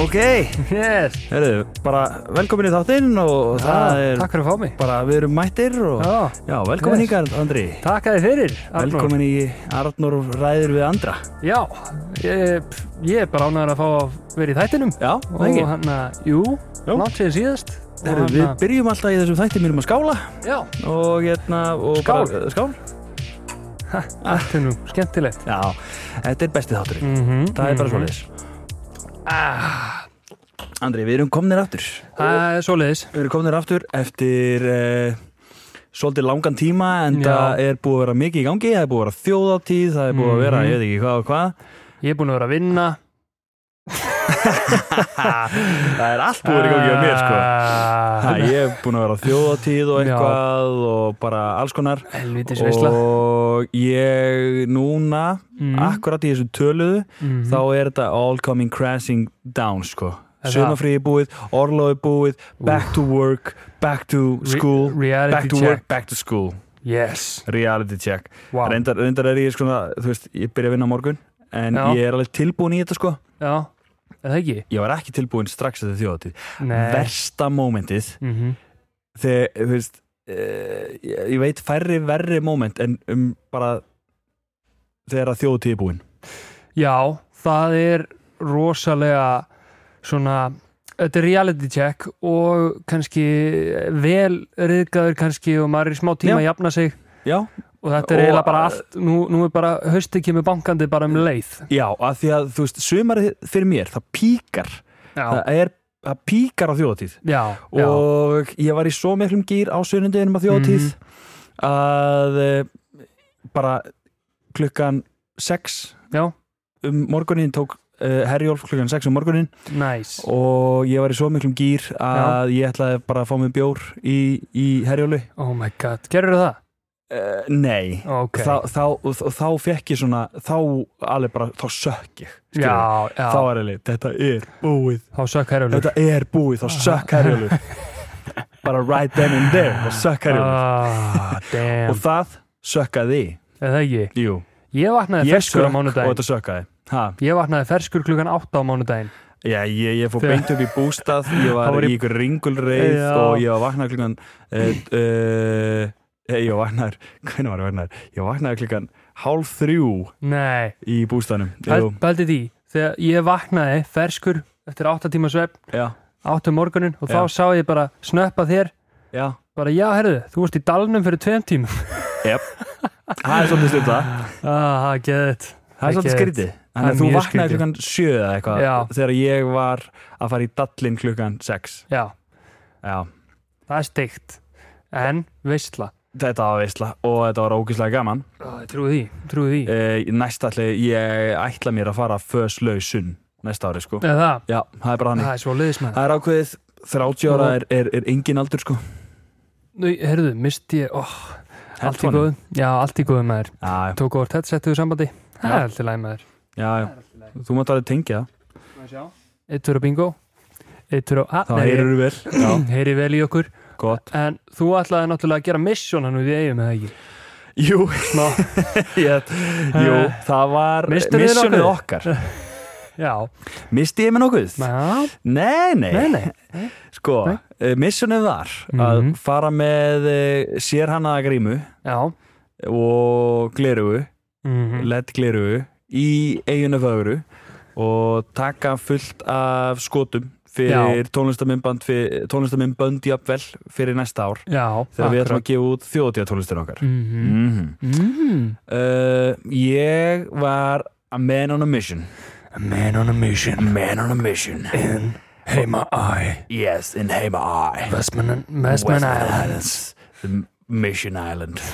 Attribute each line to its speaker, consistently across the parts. Speaker 1: Ok,
Speaker 2: Yes.
Speaker 1: herðu, bara velkomin í þáttinn og það
Speaker 2: Ah,
Speaker 1: er
Speaker 2: Takk fyrir að fá mig.
Speaker 1: bara við erum mættir og
Speaker 2: Já,
Speaker 1: já, velkomin
Speaker 2: yes.
Speaker 1: yes. hingað Andri
Speaker 2: Takk að þið fyrir. Arnór.
Speaker 1: Velkomin í Arnur ræður við Andra
Speaker 2: Já, ég, pff, ég er bara ánæður að fá að vera í þættinum.
Speaker 1: Já,
Speaker 2: Og hann að, jú,
Speaker 1: Jú.
Speaker 2: langt séð síðast. Og
Speaker 1: Herru,
Speaker 2: hann
Speaker 1: við
Speaker 2: að-
Speaker 1: byrjum alltaf í þessum þætti mínum að skála
Speaker 2: Já,
Speaker 1: og hérna og
Speaker 2: Skál.
Speaker 1: bara, skál.
Speaker 2: þetta er nú skemmtilegt.
Speaker 1: Já, þetta er bestið þátturinn
Speaker 2: Mm -hmm.
Speaker 1: Það er bara svoleiðis Ah. Andri, við erum komnir aftur
Speaker 2: Það er svoleiðis.
Speaker 1: Við erum komnir aftur eftir eh, svolítið langan tíma en það er búið að vera mikið í gangi það er búið að vera þjóðáttíð, það er búið að vera
Speaker 2: Mhm.
Speaker 1: ég veit ekki hvað og hvað
Speaker 2: Ég er búinn að vera að vinna.
Speaker 1: það er allt búið að vera í gangi á mér sko ha,
Speaker 2: sko.
Speaker 1: ég er búin að vera á þjóðáttíð og
Speaker 2: Já.
Speaker 1: eitthvað og bara alls konar
Speaker 2: Helvitis veisla.
Speaker 1: og ég núna
Speaker 2: Mm.
Speaker 1: akkurat í þessu töluðu
Speaker 2: Mm.
Speaker 1: þá er þetta all coming crashing down sko
Speaker 2: Er það?
Speaker 1: Sumafrí er búið, orlofi er búið, back to work, back to school,
Speaker 2: Re reality
Speaker 1: back to
Speaker 2: check.
Speaker 1: work, back to school,
Speaker 2: Yes.
Speaker 1: reality check.
Speaker 2: Wow.
Speaker 1: Reyndar, reyndar er ég svona, þú veist, ég byrja að vinna á morgun en
Speaker 2: Já.
Speaker 1: ég er alveg tilbúin í þetta sko
Speaker 2: Já, er það ekki?
Speaker 1: ég var ekki tilbúin strax þetta þjóðatíð
Speaker 2: Nei.
Speaker 1: versta mómentið
Speaker 2: Mm
Speaker 1: þegar, þú veist eh, ég, ég veit færri verri móment en um bara þegar að þjóðatíð er búin
Speaker 2: Já, það er rosalega svona þetta er reality check og kannski vel riðgaður kannski og maður er í smá tíma að jafna sig
Speaker 1: já,
Speaker 2: og þetta er
Speaker 1: Og-
Speaker 2: eiginlega bara allt nú, nú er bara haustið kemur bankandi bara um leið
Speaker 1: já, að því að þú veist sumarið fyrir mér, það píkar
Speaker 2: Já,
Speaker 1: það er, það píkar á þjóðatíð
Speaker 2: já, já
Speaker 1: og ég var í svo miklum gýr á sunnundeginum á þjóðatíð
Speaker 2: Mhm.
Speaker 1: að eh, bara klukkan 6
Speaker 2: Já.
Speaker 1: um morgunin tók uh, Herjólf klukkan 6 um morgunin
Speaker 2: næs
Speaker 1: og ég var í svo miklum gýr að ég ætlaði bara að fá mig bjór í, í Herjólu
Speaker 2: Oh my god, gerður það? Eh,
Speaker 1: uh, Nei
Speaker 2: Ok,
Speaker 1: þá, þá, og, og þá fekk ég svona þá alveg bara, þá sökk ég skilurðu.
Speaker 2: já, já,
Speaker 1: þá er alveg, þetta er búið
Speaker 2: þá sökk herjulur
Speaker 1: þetta er búið, þá sökk Herjólu bara right then and there þá sökk Herjólu
Speaker 2: Ah, damn,
Speaker 1: og það sökkaði
Speaker 2: er það ekki?
Speaker 1: Jú,
Speaker 2: Ég vaknaði
Speaker 1: ég
Speaker 2: ferskur
Speaker 1: sökk
Speaker 2: á
Speaker 1: og
Speaker 2: mánudaginn
Speaker 1: þetta sökkaði ha,
Speaker 2: Ég vaknaði ferskur klukkan 8 á mánudaginn
Speaker 1: Já, ég, ég fór
Speaker 2: Þegar-
Speaker 1: beint upp í bústað, ég var
Speaker 2: Þá var
Speaker 1: í
Speaker 2: ég-
Speaker 1: ykkur ringulreið
Speaker 2: Já.
Speaker 1: og ég var vaknað klukkan uh, uh, ég var vaknaður, hvernig var ég vaknaður? Ég var vaknaður klukkan hálf þrjú
Speaker 2: Nei
Speaker 1: í bústaðnum Jú,
Speaker 2: Bældi því, þegar ég vaknaði ferskur eftir 8 tíma svefn,
Speaker 1: já,
Speaker 2: 8 morgunin og þá
Speaker 1: Já.
Speaker 2: sá ég bara snöppa þér
Speaker 1: já
Speaker 2: bara já, herðu, þú varst í dalnum fyrir 2 tímum
Speaker 1: Það er svolítið stund það,
Speaker 2: Ah, geðið
Speaker 1: það er svolítið skrítið
Speaker 2: Það
Speaker 1: Þannig
Speaker 2: er
Speaker 1: að þú
Speaker 2: mjög
Speaker 1: vaknaði
Speaker 2: skrítið.
Speaker 1: klukkan sjö eða eitthvað
Speaker 2: Já.
Speaker 1: þegar ég var að fara í dallin klukkan sex
Speaker 2: Já,
Speaker 1: Já,
Speaker 2: það er steikt En, veistla
Speaker 1: þetta var veistla og þetta var ógislega gaman
Speaker 2: ah, Trúið því, trúið því
Speaker 1: Eh, Næst allir, ég ætla mér að fara föslausun næsta ári sko
Speaker 2: Eða það,
Speaker 1: Já, það er bara hannig
Speaker 2: það er svo liðismenn
Speaker 1: Það er ákveðið, 30 ára er, er, er engin aldur sko
Speaker 2: Nú, herðu, misti ég, óh Allt í góðu, já, allt í góðu maður
Speaker 1: Já,
Speaker 2: Tók over tett, settuðu sambandi Það er allt í læg maður
Speaker 1: já, já, þú mátt alveg tengja
Speaker 2: Eitt fyrir á bingo Eitt fyrir á,
Speaker 1: það
Speaker 2: að,
Speaker 1: Það heyrur vel, já,
Speaker 2: heyri vel í okkur
Speaker 1: gott
Speaker 2: En þú ætlaði náttúrulega að gera mission hann við eigum eða ekki
Speaker 1: Jú,
Speaker 2: Ná,
Speaker 1: ég, jú það var
Speaker 2: Mistirðu
Speaker 1: missionið
Speaker 2: Eh, nokkuð?
Speaker 1: okkar
Speaker 2: já,
Speaker 1: Misti ég með nokkuð?
Speaker 2: já,
Speaker 1: Nei, nei,
Speaker 2: nei, nei
Speaker 1: sko
Speaker 2: Nei.
Speaker 1: eh, Missionið var að
Speaker 2: Mhm.
Speaker 1: fara með eh, sérhannaða grímu
Speaker 2: Já,
Speaker 1: og glerugu,
Speaker 2: mhm,
Speaker 1: ledd glerugu í eiginu fögru og taka fullt af skotum fyrir tónlistaminnbönd tónlistaminnbönd jafnvel fyrir næsta ár
Speaker 2: já
Speaker 1: þegar við ætlum
Speaker 2: akkurat.
Speaker 1: að gefa út þjóðtíða tónlistin okkar
Speaker 2: Mhm,
Speaker 1: mm
Speaker 2: mhm
Speaker 1: uh, Ég var a man on a mission
Speaker 2: A man on a mission
Speaker 1: Man on a mission
Speaker 2: in Heima Eye
Speaker 1: Yes, in Heima Eye
Speaker 2: Vestman, Vestman Island
Speaker 1: Islands The Mission Island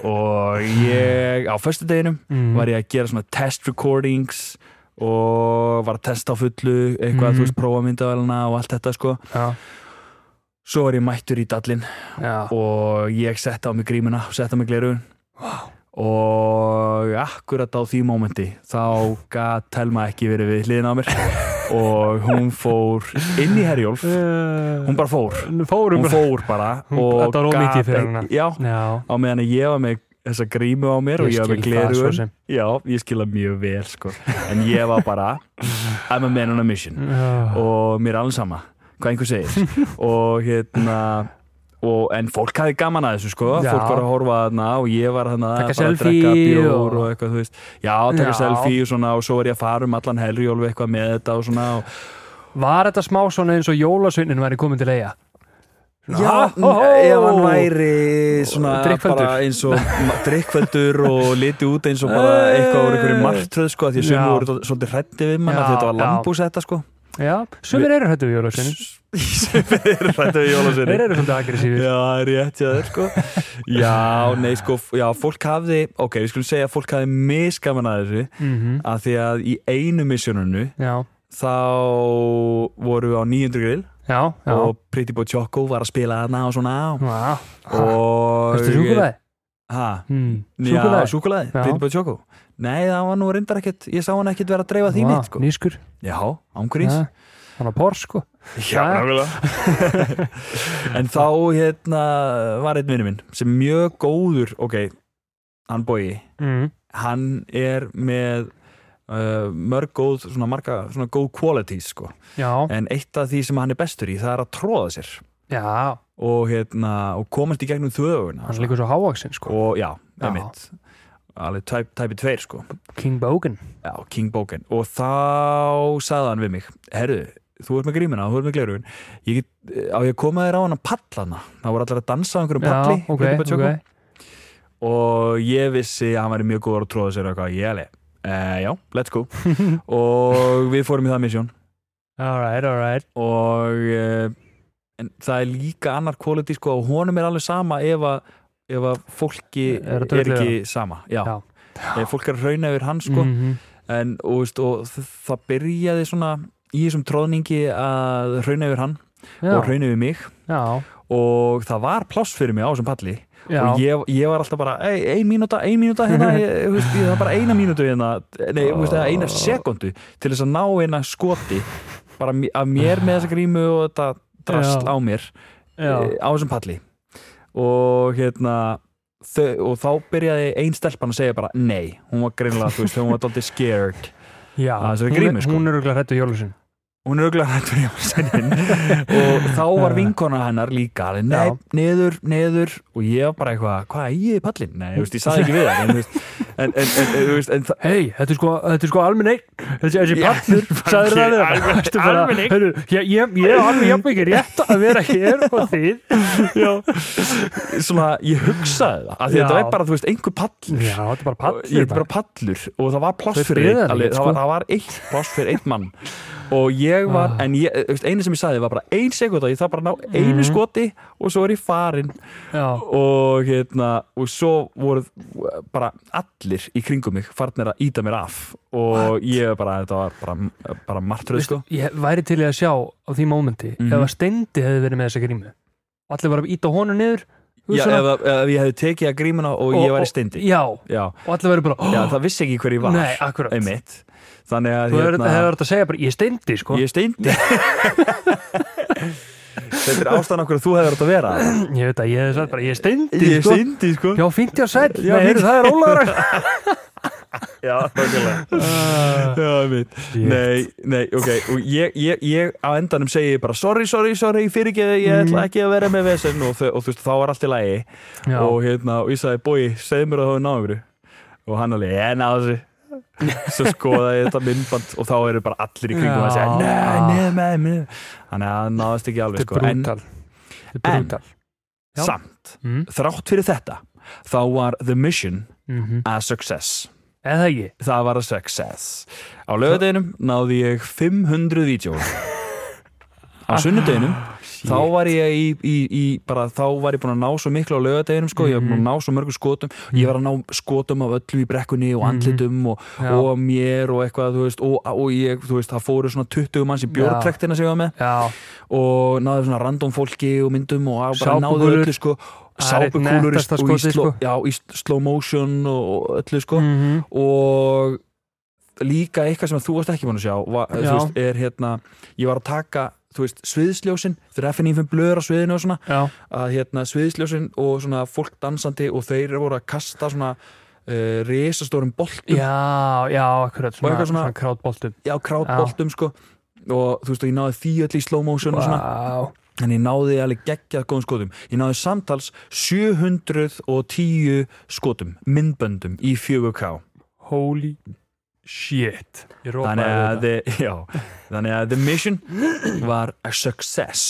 Speaker 1: Og ég, á föstudeginum
Speaker 2: Mhm.
Speaker 1: var ég að gera svona test recordings og var að testa á fullu eitthvað,
Speaker 2: Mhm.
Speaker 1: þú veist, prófa myndavelina og allt þetta sko
Speaker 2: já,
Speaker 1: svo er ég mættur í dallin
Speaker 2: já.
Speaker 1: og ég sett á mig grímuna og sett á mig glerugun og akkurat á því mómenti þá gat Telma ekki verið við hliðin á mér og hún fór inn í Herjólf
Speaker 2: Eh,
Speaker 1: hún bara fór,
Speaker 2: bara fórum
Speaker 1: hún
Speaker 2: bara
Speaker 1: fór bara
Speaker 2: Hún-
Speaker 1: og
Speaker 2: þetta var of
Speaker 1: gat
Speaker 2: mikið fyrir
Speaker 1: ekki-
Speaker 2: hana.
Speaker 1: já,
Speaker 2: Já,
Speaker 1: á meðan að ég var með þessa grímu á mér og ég var með glerugun
Speaker 2: sem
Speaker 1: Já, ég skila mjög vel sko En ég var bara I'm a man on a mission
Speaker 2: Já,
Speaker 1: Og mér er alveg sama, hvað einhver segir Og hérna og, En fólk hafði gaman að þessu sko
Speaker 2: Já.
Speaker 1: Fólk var að horfa þarna og ég var þarna
Speaker 2: Taka
Speaker 1: bara að
Speaker 2: selfie
Speaker 1: drekka bjór
Speaker 2: og-
Speaker 1: og... eitthvað þú veist Já, taka
Speaker 2: Já.
Speaker 1: selfie og svona Og svo var ég að fara um allan Herjólf eitthvað með þetta og svona og,
Speaker 2: Var þetta smá svona eins og jólasveinin væri komin til eiga?
Speaker 1: Já, ef hann væri svona
Speaker 2: Drykkfelldur.
Speaker 1: bara eins og drikkveldur og liti út eins og bara eitthvað úr einhverju martröð sko, af því að
Speaker 2: Eh. Já.
Speaker 1: sömu voru dál- svolítið hrætti við mann
Speaker 2: Já,
Speaker 1: af því að þetta var
Speaker 2: já.
Speaker 1: lambús þetta sko
Speaker 2: Já, sumir eru hættu við jólasveinin
Speaker 1: hrætti við jólasveini
Speaker 2: Þeir eru svolítið aggressífir
Speaker 1: Já, rétt ég sko Já, nei sko, f- já, fólk hafði ok, við skulum segja að fólk hafði miskaman að þessu
Speaker 2: Mhm.
Speaker 1: af því að í einu missionunu
Speaker 2: Já,
Speaker 1: þá voru við á 900 grill
Speaker 2: já, já
Speaker 1: og Pretty Boy Choco var að spila þarna og svona
Speaker 2: Já,
Speaker 1: og
Speaker 2: Ertu Hmm. súkulæði?
Speaker 1: Ha? Já,
Speaker 2: Súkulæði?
Speaker 1: súkulaði,
Speaker 2: Já.
Speaker 1: Pretty Boy Choco Nei, það var nú reyndar ekkert, ég sá hann ekkert vera að dreifa því neitt sko.
Speaker 2: Nýskur
Speaker 1: Já, ámgurins
Speaker 2: Já, Hann var pór sko
Speaker 1: Já, nákvæmlega En þá hérna var einn vinnu minn sem mjög góður, ok hann bogi,
Speaker 2: mm.
Speaker 1: hann er með uh, mörg góð, svona marga svona góð qualities sko,
Speaker 2: Já,
Speaker 1: en eitt af því sem hann er bestur í, það er að tróða sér
Speaker 2: já,
Speaker 1: og hérna, og komast í gegnum þöguna
Speaker 2: hann er líka svo hávaksinn sko
Speaker 1: og já,
Speaker 2: Já.
Speaker 1: emitt alveg tæp, tæpi tveir sko
Speaker 2: King Bogan
Speaker 1: Já, King Bogan og þá sagði hann við mig Herðu, þú ert með grímuna, þú ert með glerugun ég get, á ég að koma þér á hann að palla hana það voru allir að dansa á einhverjum
Speaker 2: Já,
Speaker 1: palli
Speaker 2: ok,
Speaker 1: Pretty Boy Choco.
Speaker 2: ok
Speaker 1: og ég vissi að hann væri mjög góður að tróða sér og eitthvað, ég heli uh, já, let's go og við fórum í það misjón
Speaker 2: Alright, alright
Speaker 1: og uh, en það er líka annar quality sko og honum er alveg sama ef að, ef að fólki
Speaker 2: Er
Speaker 1: er,
Speaker 2: að drulla
Speaker 1: ekki sama já.
Speaker 2: Já.
Speaker 1: ef fólk er að rauna yfir hann sko
Speaker 2: Mhm.
Speaker 1: en, og, veist, og þ- það byrjaði svona í þessum tróðningi að rauna yfir hann
Speaker 2: Já,
Speaker 1: og rauna yfir mig
Speaker 2: já,
Speaker 1: og það var pláss fyrir mig á þessum palli
Speaker 2: já
Speaker 1: og ég, ég var alltaf bara "Ey, ein mínúta, ein mínúta hérna, ég, þú veist, ég, það er bara eina mínútu hérna nei, þú veist, eða eina sekundu til þess að ná eina skoti bara mi- af mér með þessa grímu og þetta drast
Speaker 2: Já.
Speaker 1: á mér
Speaker 2: Já,
Speaker 1: eh, á þessum palli og hérna þau, og þá byrjaði ein stelpan að segja bara nei, hún var greinlega, þú veist, hún var daldið scared
Speaker 2: já.
Speaker 1: að þessari
Speaker 2: Hún
Speaker 1: grímu,
Speaker 2: er-
Speaker 1: sko.
Speaker 2: Hún er auðvitað hrættu jólusin
Speaker 1: hún er auðvitað hættur Jónssonin og þá var vinkona hennar líka alveg, nei,
Speaker 2: Já.
Speaker 1: neður, neður og ég var bara eitthvað, hvað er ég í pallin? Nei, þú veist, ég saði ekki við það en, þú veist, en, en, en, en, þú veist, en það
Speaker 2: Hei, þetta er sko, þetta er sko almenn einn Þessi, þessi
Speaker 1: Já,
Speaker 2: pallur,
Speaker 1: fucking
Speaker 2: sagður það við hana.
Speaker 1: almenn-
Speaker 2: Ertu bara,
Speaker 1: almenn eign.
Speaker 2: heyrðu, Ég ég- ég er alveg jafn ekki rétt að vera hér og þið
Speaker 1: svona, ég hugsaði það af því
Speaker 2: Já.
Speaker 1: þetta var bara, þú veist, einhver pallur
Speaker 2: Já, þetta er bara
Speaker 1: Og ég
Speaker 2: pallur
Speaker 1: er bara pallur og það var
Speaker 2: Þau
Speaker 1: pláss fyrir einn,
Speaker 2: biðu þar
Speaker 1: alveg,
Speaker 2: ekkert,
Speaker 1: það,
Speaker 2: sko.
Speaker 1: var, það var eitt pláss fyrir einn mann og ég var,
Speaker 2: Ah. Mm.
Speaker 1: en ég, þú veist, einu sem ég saði var bara ein sekund að ég þarf bara að ná einu skoti og svo er ég farin
Speaker 2: Já,
Speaker 1: og hérna og svo voru bara allir í kringum mig farnir að íta mér af og ég bara, þetta var bara, bara martröð sko
Speaker 2: ég væri til í að sjá á því mómenti
Speaker 1: Mhm.
Speaker 2: ef að Steindi hefði verið með þessa grímu og allir var að íta honum niður þú
Speaker 1: Já,
Speaker 2: veist svona,
Speaker 1: ef, ef ég hefði tekið að grímuna og, ég væri steindi
Speaker 2: já,
Speaker 1: já,
Speaker 2: og allir væri bara
Speaker 1: já,
Speaker 2: oh,
Speaker 1: það vissi ekki hver ég var
Speaker 2: nei, akkurat
Speaker 1: einmitt þannig að hérna,
Speaker 2: þú hefur hefur þetta að segja bara, ég er Steindi sko.
Speaker 1: ég er steindi þetta er ástæðan okkur að þú hefur þetta að vera þarna.
Speaker 2: ég veit að ég hefði sagt bara, ég er Steindi
Speaker 1: ég er
Speaker 2: sko.
Speaker 1: steindi sko
Speaker 2: já, fínt ég að sæl,
Speaker 1: Já,
Speaker 2: nei, heyrðu, það er ólaður
Speaker 1: já, okkurlega
Speaker 2: Ah,
Speaker 1: já, einmitt
Speaker 2: nei,
Speaker 1: Nei, nei, ok, og ég, ég, ég á endanum segi ég bara sorry, sorry, sorry, fyrirgeðu, ég ætla ekki að vera með vesen og, þau- og þú veist, þá var allt í lagi
Speaker 2: Mm. já,
Speaker 1: og hérna, og ég sagði, bói, segðu mér að það er náður og hann alveg, ég náðu þessu svo skoða ég þetta myndband og þá eru bara allir í kringum að segja
Speaker 2: Já.
Speaker 1: nei, neður með, neður þannig að það náðast ekki alveg,
Speaker 2: þetta er
Speaker 1: sko en
Speaker 2: brútal þetta er
Speaker 1: en-
Speaker 2: brútal Já.
Speaker 1: samt,
Speaker 2: Mm.
Speaker 1: þrátt fyrir þetta þá var The Mission
Speaker 2: Mhm.
Speaker 1: a success
Speaker 2: eða ekki,
Speaker 1: það var að success á
Speaker 2: Ah,
Speaker 1: lögadeginum náði ég 500 vídjó á sunnudeginum þá var ég í, í, í bara, þá var ég búin að ná svo miklu á laugadeginum sko, ég var búin að ná svo mörgum skotum ég var að ná skotum af öllu í brekkunni og andlitum og,
Speaker 2: Mhm. Já.
Speaker 1: og mér og eitthvað þú veist, og, og ég, þú veist, það fóru svona 20 manns í bjórtrektina sem ég var með
Speaker 2: já,
Speaker 1: og náðu svona random fólki og myndum og að bara náðu
Speaker 2: Sápukúlur.
Speaker 1: öllu sko
Speaker 2: Það er eitt
Speaker 1: sápukúlur í,
Speaker 2: nettasta
Speaker 1: og í,
Speaker 2: skotið,
Speaker 1: slow,
Speaker 2: sko.
Speaker 1: já, í slow motion og og öllu sko
Speaker 2: mhm,
Speaker 1: og líka eitthvað sem þú varst ekki búin að sjá var, þú
Speaker 2: Já.
Speaker 1: veist, er hérna ég var að taka þú veist, sviðsljósin fyrir FNF blöður á sviðinu og svona
Speaker 2: já,
Speaker 1: að hérna sviðsljósin og svona fólk dansandi og þeir voru að kasta svona uh, risastórum boltum
Speaker 2: já, já, akkurat svona,
Speaker 1: eitthvað
Speaker 2: svona,
Speaker 1: svona-
Speaker 2: svona krátboltum
Speaker 1: já, krátboltum sko og þú veist, og ég náði því öll í slow motion og svona
Speaker 2: Vá.
Speaker 1: en ég náði alveg geggjað góðum skotum ég náði samtals 710 skotum myndböndum í 4K
Speaker 2: holy shit ég rópaði
Speaker 1: þannig að,
Speaker 2: þetta
Speaker 1: the, já, þannig að the mission var a success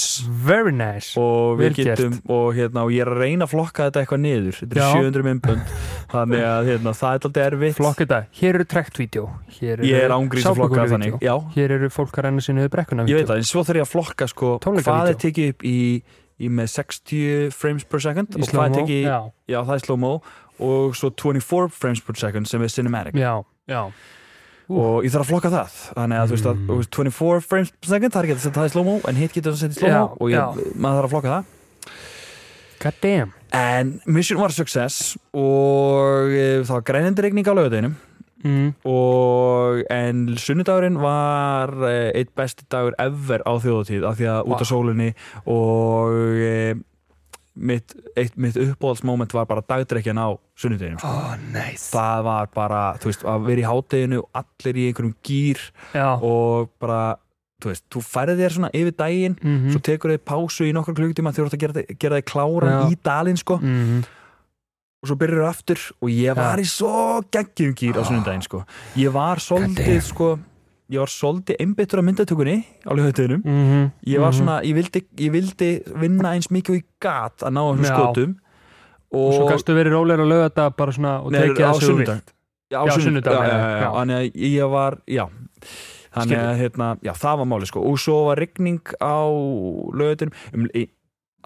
Speaker 2: very nice
Speaker 1: og við
Speaker 2: Vel gert.
Speaker 1: getum og, hérna, og ég er að reyna að flokka þetta eitthvað niður þetta
Speaker 2: Já.
Speaker 1: er 700 minnbönd þannig að hérna, það er alltaf erfitt
Speaker 2: flokk þetta, hér eru trektvídeó hér
Speaker 1: ég er ángríns að flokka
Speaker 2: sápukúluvídeó.
Speaker 1: þannig já,
Speaker 2: hér eru fólk að renna sinni við brekkuna
Speaker 1: ég veit það, en svo þarf ég að flokka sko,
Speaker 2: Tónleikavídeó.
Speaker 1: hvað er tekið upp í, í með 60 frames per second
Speaker 2: í
Speaker 1: og hvað er
Speaker 2: slow-mo.
Speaker 1: tekið, já.
Speaker 2: já,
Speaker 1: já það er slow-mo og svo 24 frames per second sem er cinematic
Speaker 2: já, já
Speaker 1: og ég þarf að flokka það þannig að þú veist að
Speaker 2: Mm.
Speaker 1: þú veist, 24 frames per second það er ekki að setja það í slow-mo en hitt getur að setja í slow-mo
Speaker 2: Já,
Speaker 1: og ég,
Speaker 2: já.
Speaker 1: maður þarf að flokka það
Speaker 2: god damn
Speaker 1: en mission var success og e, það var grænindi regning á lögadeginu
Speaker 2: mm.
Speaker 1: og en sunnudagurinn var e, eitt besti dagur ever á þjóðatíð af því að út af
Speaker 2: Vá.
Speaker 1: sólinni og e, mitt, eitt, mitt uppbóðalsmoment var bara dagdrekjan á sunnudaginu
Speaker 2: oh, nice
Speaker 1: það var bara, þú veist, að vera í hátteginu og allir í einhverjum gýr
Speaker 2: já,
Speaker 1: og bara, þú veist, þú færði þér svona yfir daginn,
Speaker 2: mhm,
Speaker 1: svo tekur þið pásu í nokkra klukkutíma þegar þú ert að gera, þig- gera þig kláran
Speaker 2: Já.
Speaker 1: í dalinn sko,
Speaker 2: mhm,
Speaker 1: og svo byrjar þú aftur og ég var í svo geggjum gýr á sunnudaginn sko, ég var svolítið
Speaker 2: Ah. damn.
Speaker 1: sko, ég var svolítið einbyttur á myndatökunni á lögutöðunum,
Speaker 2: mhm
Speaker 1: ég var
Speaker 2: mhm.
Speaker 1: svona, ég vildi, ég vildi vinna eins mikið og ég gat að ná þessum
Speaker 2: Já.
Speaker 1: skotum
Speaker 2: og svo kannstu verið rólega að löga þetta bara svona og
Speaker 1: Nei,
Speaker 2: tekið
Speaker 1: á
Speaker 2: það sem þú
Speaker 1: sunnudag.
Speaker 2: vilt
Speaker 1: Já,
Speaker 2: Já,
Speaker 1: sunn-
Speaker 2: sunnudag,
Speaker 1: já,
Speaker 2: meina
Speaker 1: já,
Speaker 2: ég,
Speaker 1: já,
Speaker 2: já.
Speaker 1: Þannig að ég var, já Þannig að, hérna, já, það var máli, sko Og svo var rigning á lögutinum um, í,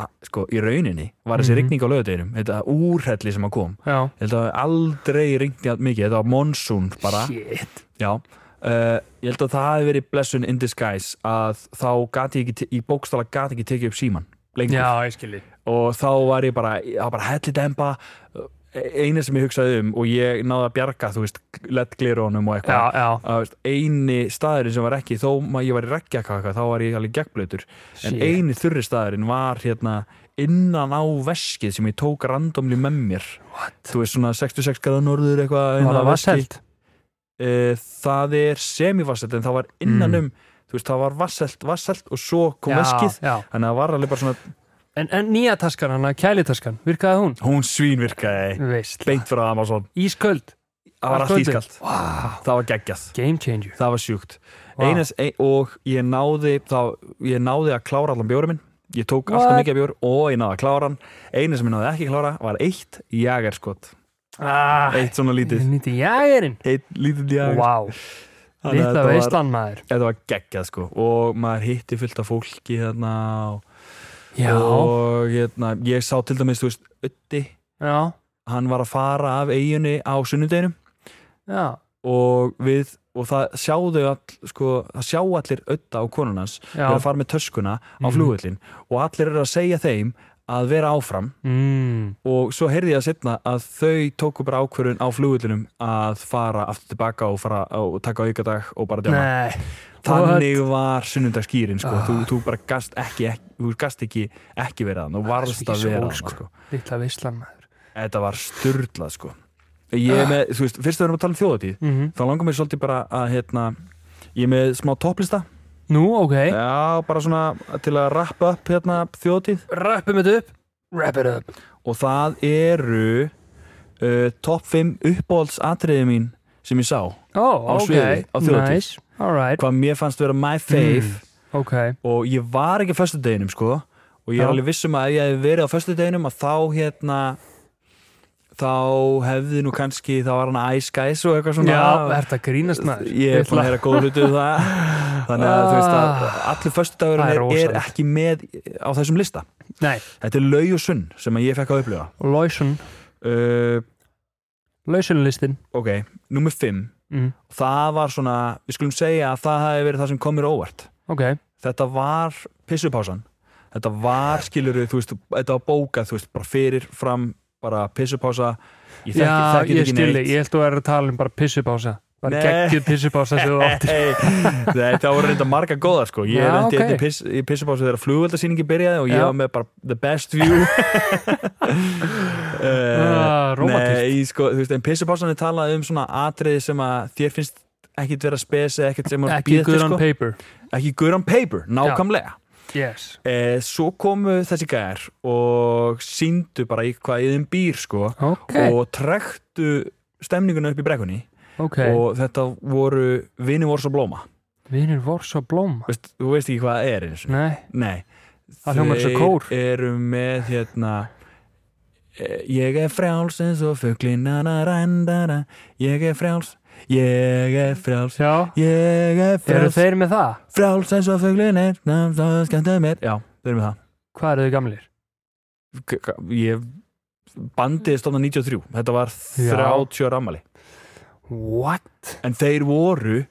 Speaker 1: a- Sko, í rauninni var þessi
Speaker 2: Mhm.
Speaker 1: rigning á lögutinum Þetta úrhelli sem að kom
Speaker 2: já,
Speaker 1: Ég held að aldrei rigndi að mikið Þetta var monsoon bara
Speaker 2: shit
Speaker 1: Já Uh, ég held að það hafi verið blessun in disguise að þá gati ég ekki, te- í bókstala gati ekki tekið upp síman lengur
Speaker 2: já, ég skilji
Speaker 1: og þá var ég bara, ég var bara hellit emba eina sem ég hugsaði um og ég náði að bjarga, þú veist, lettglirónum og
Speaker 2: já,
Speaker 1: eitthvað
Speaker 2: já,
Speaker 1: Að, veist, eini staðurinn sem var ekki, þó maður ég var í reggjakka og eitthvað, þá var ég alveg gegnblöytur en
Speaker 2: Shit.
Speaker 1: eini þurri staðurinn var hérna innan á veskið sem ég tók randomli með mér
Speaker 2: What?
Speaker 1: þú veist svona 66 gráða norður eitthvað
Speaker 2: var
Speaker 1: innan
Speaker 2: það
Speaker 1: á veski.
Speaker 2: vasselt
Speaker 1: Eh, það er semivasselt en það var innan um þú veist, það var vasselt, vasselt og svo kom veskið
Speaker 2: Mm. já, já
Speaker 1: þannig að það var alveg bara svona,
Speaker 2: En, en nýja taskan hana, kælitaskan, virkaði hún?
Speaker 1: hún svínvirkaði
Speaker 2: Veist.
Speaker 1: beint frá Amazon
Speaker 2: Ísköld.
Speaker 1: það var allt
Speaker 2: Allt kvöldið.
Speaker 1: ískalt, það var geggjað
Speaker 2: Game changer.
Speaker 1: það var sjúkt
Speaker 2: Vá.
Speaker 1: Einas, ein, og ég náði, þá, ég náði að klára allan bjóri minn ég tók
Speaker 2: What?
Speaker 1: alltaf mikið af bjór og ég náði að klára hann eina sem ég náði ekki að klára var eitt jagerskot
Speaker 2: Ah,
Speaker 1: eitt svona lítið,
Speaker 2: Nýtti jægerinn.
Speaker 1: eitt lítið jager
Speaker 2: Vá,
Speaker 1: Þannig að
Speaker 2: litla
Speaker 1: þetta var-
Speaker 2: veistlan maður.
Speaker 1: þetta var geggjað sko og maður hitti fullt af fólki hérna og,
Speaker 2: Já,
Speaker 1: og hérna, ég sá til dæmis, þú veist, Ötti
Speaker 2: já,
Speaker 1: hann var að fara af eiginni á sunnudeginum
Speaker 2: já.
Speaker 1: og við og það sjáðu all, sko, það sjá allir ötta á konun hans
Speaker 2: Já.
Speaker 1: vera að fara með töskuna á
Speaker 2: Mhm.
Speaker 1: flugvöllin og allir eru að segja þeim að vera áfram
Speaker 2: Mm.
Speaker 1: og svo heyrði ég að setna að þau tóku bara ákvörun á flugvöllinum að fara aftur tilbaka og, fara, og taka aukadag og bara djáma
Speaker 2: Nei,
Speaker 1: þannig var sunnundaskýrin sko.
Speaker 2: Ah.
Speaker 1: þú, þú bara gast ekki, ekki, þú gast ekki ekki verið þann og varst
Speaker 2: Þetta er
Speaker 1: að
Speaker 2: svo
Speaker 1: vera
Speaker 2: old
Speaker 1: þann
Speaker 2: school.
Speaker 1: sko.
Speaker 2: litla veistlan maður.
Speaker 1: þetta var sturdlað sko. ég
Speaker 2: Ah.
Speaker 1: er með, þú veist, fyrst að við erum að tala um þjóðatíð
Speaker 2: Mm
Speaker 1: þá langar mér svolítið bara að hérna, ég er með smá topplista
Speaker 2: Nú, ok.
Speaker 1: já, bara svona til að rappa upp hérna þjóðtíð
Speaker 2: Rappum þetta upp. Wrap it up.
Speaker 1: og það eru uh, topp 5 uppbóls atriði mín sem ég sá,
Speaker 2: Ó,
Speaker 1: Á
Speaker 2: Oh, ok.
Speaker 1: sviði, á þjóðhátíð.
Speaker 2: Nice. All right.
Speaker 1: hvað mér fannst vera my fave
Speaker 2: Mm. Ok.
Speaker 1: og ég var ekki á föstudeginum sko og ég er
Speaker 2: Já.
Speaker 1: alveg vissum að ef ég hef verið á föstudeginum að þá hérna þá hefði nú kannski þá var hann Ice Guys og eitthvað svona
Speaker 2: Já, er þetta grínast maður?
Speaker 1: ég er búin að heyra góð hlutu um það þannig að þú veist að allir föstudagurinn
Speaker 2: Ah. Það er
Speaker 1: er, er
Speaker 2: rosalegt.
Speaker 1: ekki með á þessum lista
Speaker 2: Nei,
Speaker 1: þetta er laug og sunn sem að ég fekk að upplifa
Speaker 2: Lausun
Speaker 1: uh,
Speaker 2: Lausunlistin
Speaker 1: ok, nummer 5
Speaker 2: mm.
Speaker 1: það var svona, við skulum segja að það hefði verið það sem komir óvart
Speaker 2: Ok,
Speaker 1: þetta var pissupásan þetta var skiluru, þú veist þetta var bókað, þú veist, bara fyrir fram bara pissupása ég þekki, þekki
Speaker 2: já,
Speaker 1: þetta
Speaker 2: ég
Speaker 1: ekki
Speaker 2: skilji,
Speaker 1: neitt.
Speaker 2: ég held að vera að tala um bara pissupása bara
Speaker 1: Nei.
Speaker 2: geggjuð pissupása sem þú átt
Speaker 1: Hey, þetta voru reynda marga góðar sko. ég
Speaker 2: Já,
Speaker 1: reyndi
Speaker 2: ok.
Speaker 1: okay. piss, ég pissa bá svo þegar flugvöldasýningi byrjaði og ég
Speaker 2: Já.
Speaker 1: var með bara the best view uh,
Speaker 2: Ah, Rómatískt
Speaker 1: Nei, sko, þú veist, en pissupásan er talað um svona atriði sem að þér finnst ekkit vera spes eða ekkit sem að
Speaker 2: Ekki
Speaker 1: bíða
Speaker 2: good
Speaker 1: eftir,
Speaker 2: on
Speaker 1: sko.
Speaker 2: paper
Speaker 1: ekki good on paper, nákvæmlega
Speaker 2: Yes
Speaker 1: Eh, svo komu þessi gæjar og síndu bara í hvað yðin býr sko,
Speaker 2: Ok,
Speaker 1: og trektu stemninguna upp í brekkunni
Speaker 2: ok
Speaker 1: og þetta voru vinni voru svo blóma
Speaker 2: Vinir vor svo blóma
Speaker 1: veist, þú veist ekki hvað það er eins og
Speaker 2: Nei,
Speaker 1: nei,
Speaker 2: Það hljómar eins og kór.
Speaker 1: eru með hérna eh, ég er frjáls eins og fuglinana rændara ég er frjáls, ég er frjáls
Speaker 2: já
Speaker 1: ég er
Speaker 2: Eru
Speaker 1: frjáls,
Speaker 2: þeir með það?
Speaker 1: frjáls eins og fuglinir nam það skemmtum mér já, þau eru með það
Speaker 2: Hvað eru þau gamlir?
Speaker 1: K- k- ég bandið stofna 93, þetta var
Speaker 2: Já.
Speaker 1: 30 ára ammali
Speaker 2: What?
Speaker 1: en þeir voru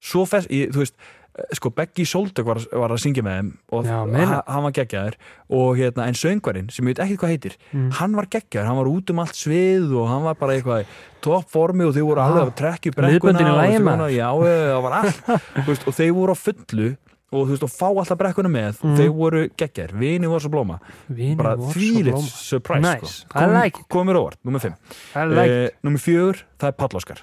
Speaker 1: svo fest, ég, þú veist eh, sko Beggi Soldök var, var að syngja með þeim og
Speaker 2: Já, meina.
Speaker 1: ha, hann var geggjaður og hérna, en söngvarinn sem ég veit ekki hvað heitir
Speaker 2: Mm.
Speaker 1: hann var geggjaður, hann var út um allt svið og hann var bara eitthvað í toppformi og þeir voru alveg að trekkja upp brekkuna
Speaker 2: Miðböndin í
Speaker 1: og
Speaker 2: lagi,
Speaker 1: svona,
Speaker 2: maður.
Speaker 1: já, eh, það var allt Þú veist, og þeir voru á fullu og þú veist, og fá alltaf brekkuna með
Speaker 2: Mm.
Speaker 1: þeir voru geggjaður, vini voru svo blóma
Speaker 2: Vinir
Speaker 1: bara
Speaker 2: vor svo
Speaker 1: þvílitt
Speaker 2: blóma
Speaker 1: surprise
Speaker 2: Nice.
Speaker 1: sko.
Speaker 2: I like it.
Speaker 1: komir óvart, nummer 5
Speaker 2: I like it.
Speaker 1: nummer 4, Eh, það er Palloskar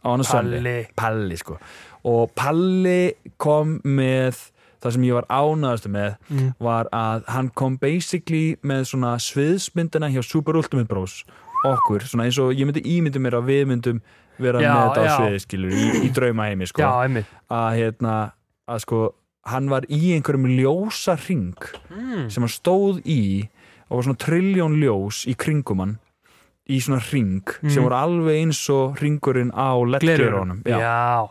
Speaker 1: á hann að söndi
Speaker 2: Palli
Speaker 1: Palli sko og Palli kom með það sem ég var ánaðastu með
Speaker 2: Mm.
Speaker 1: var að hann kom basically með svona sviðsmyndina hjá Super Ultimate Bros okkur, svona eins og ég myndi ímyndi mér að við myndum vera
Speaker 2: Já,
Speaker 1: með þetta á
Speaker 2: já.
Speaker 1: sviði skilur í, í draumaheimi sko
Speaker 2: Já, einmitt
Speaker 1: að hérna að sko hann var í einhverjum ljósa ring
Speaker 2: mm.
Speaker 1: sem hann stóð í og var svona trilljón ljós í kringum hann í svona ring sem
Speaker 2: Mm.
Speaker 1: voru alveg eins og ringurinn á lettgerunum
Speaker 2: Já,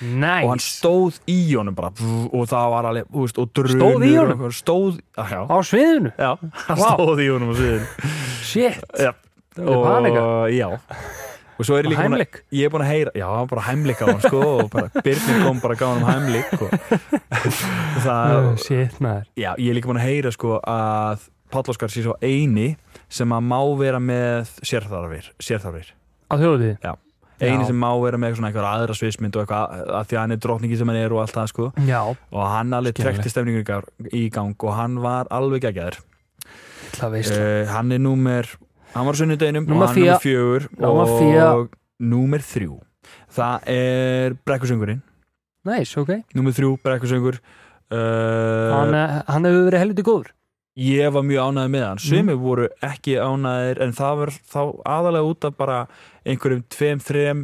Speaker 2: Nice
Speaker 1: og hann stóð í honum bara pff, og það var alveg, þú veist, og drunur
Speaker 2: Stóð í
Speaker 1: og
Speaker 2: honum?
Speaker 1: eitthvað, stóð, á, já,
Speaker 2: Á sviðinu
Speaker 1: já hann
Speaker 2: Vá.
Speaker 1: stóð í honum á sviðinu
Speaker 2: Shit
Speaker 1: já,
Speaker 2: er panika.
Speaker 1: já og svo er ég
Speaker 2: Og
Speaker 1: líka búin
Speaker 2: heimlik
Speaker 1: að ég er búin að heyra, já, hann bara heimlik á hann sko, og bara Birnir kom bara að gá hann heimlik og það,
Speaker 2: Oh, Shit maður
Speaker 1: já, ég er líka búin að heyra sko að Páll Óskar sé svo eini sem að má vera með sérþarfir, sérþarfir
Speaker 2: Á þjóðið
Speaker 1: eini
Speaker 2: Já.
Speaker 1: sem má vera með svona einhverja aðra sviðsmynd og eitthvað, að því að hann er drottningi sem hann er og allt það sko
Speaker 2: Já,
Speaker 1: og hann alveg
Speaker 2: Skiljanlegt.
Speaker 1: trekti stemningur í gang- í gang og hann var alveg geggjaður
Speaker 2: það veist
Speaker 1: uh, hann er númer hann var á sunnudeginum og
Speaker 2: Númer
Speaker 1: hann er númer fjögur
Speaker 2: Númer
Speaker 1: og
Speaker 2: fjö-
Speaker 1: númer þrjú það er brekkusöngurinn
Speaker 2: Nice, ok
Speaker 1: númer þrjú brekkusöngur
Speaker 2: hann,
Speaker 1: uh,
Speaker 2: eh, hann hefur verið helviti góður
Speaker 1: ég var mjög ánægð með hann sumir
Speaker 2: Mhm.
Speaker 1: voru ekki ánæðir en það var þá aðalega út af bara einhverjum tveim, þrem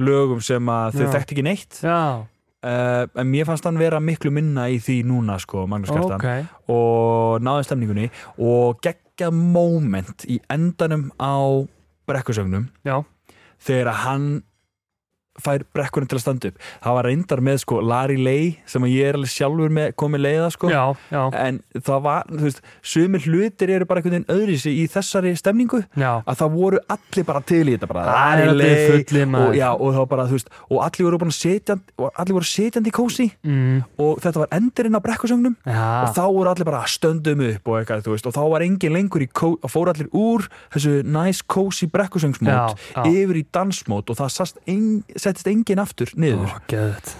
Speaker 1: lögum sem að þau
Speaker 2: Já.
Speaker 1: þekkti ekki neitt uh,
Speaker 2: Já,
Speaker 1: en mér fannst hann vera miklu minna í því núna sko, Magnús Kjartan
Speaker 2: ok
Speaker 1: og náði stemningunni og geggja moment í endanum á brekkusögnum
Speaker 2: Já.
Speaker 1: þegar að hann fær brekkunum til að standa upp það var reyndar með sko Larry Lay sem að ég er alveg sjálfur með komið leiða sko
Speaker 2: Já, já,
Speaker 1: en það var, þú veist, sumir hlutir eru bara einhvern veginn öðrisi í þessari stemningu
Speaker 2: já
Speaker 1: að það voru allir bara til í þetta bara
Speaker 2: Það er
Speaker 1: Larry
Speaker 2: allir
Speaker 1: Lay
Speaker 2: fullið
Speaker 1: og,
Speaker 2: maður
Speaker 1: já, og, þá bara, þú veist, og allir voru búin að setja allir voru setjandi í kósi
Speaker 2: mm,
Speaker 1: og þetta var endurinn á brekkusögnum
Speaker 2: Já,
Speaker 1: og þá voru allir bara stöndum upp og eitthvað, þú veist, og þá var engin lengur í kó, og fóru allir úr þessu nice cozy brekkusöngsmót
Speaker 2: já, já.
Speaker 1: yfir í dansmót og það sast ein, settist engin aftur
Speaker 2: Ó,
Speaker 1: niður
Speaker 2: geðut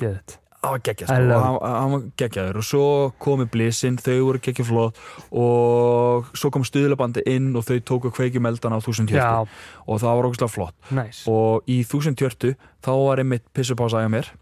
Speaker 2: Geðut
Speaker 1: það var geggjast
Speaker 2: I
Speaker 1: og
Speaker 2: love
Speaker 1: hann, hann var geggjaður og svo komi blísinn, þau voru geggjaflót og svo kom stuðlabandi inn og þau tóku kveikjumeldana á
Speaker 2: Já,
Speaker 1: 1040 og það var ógustlega flott
Speaker 2: nice
Speaker 1: og í 1040 þá var einmitt pissupása hjá mér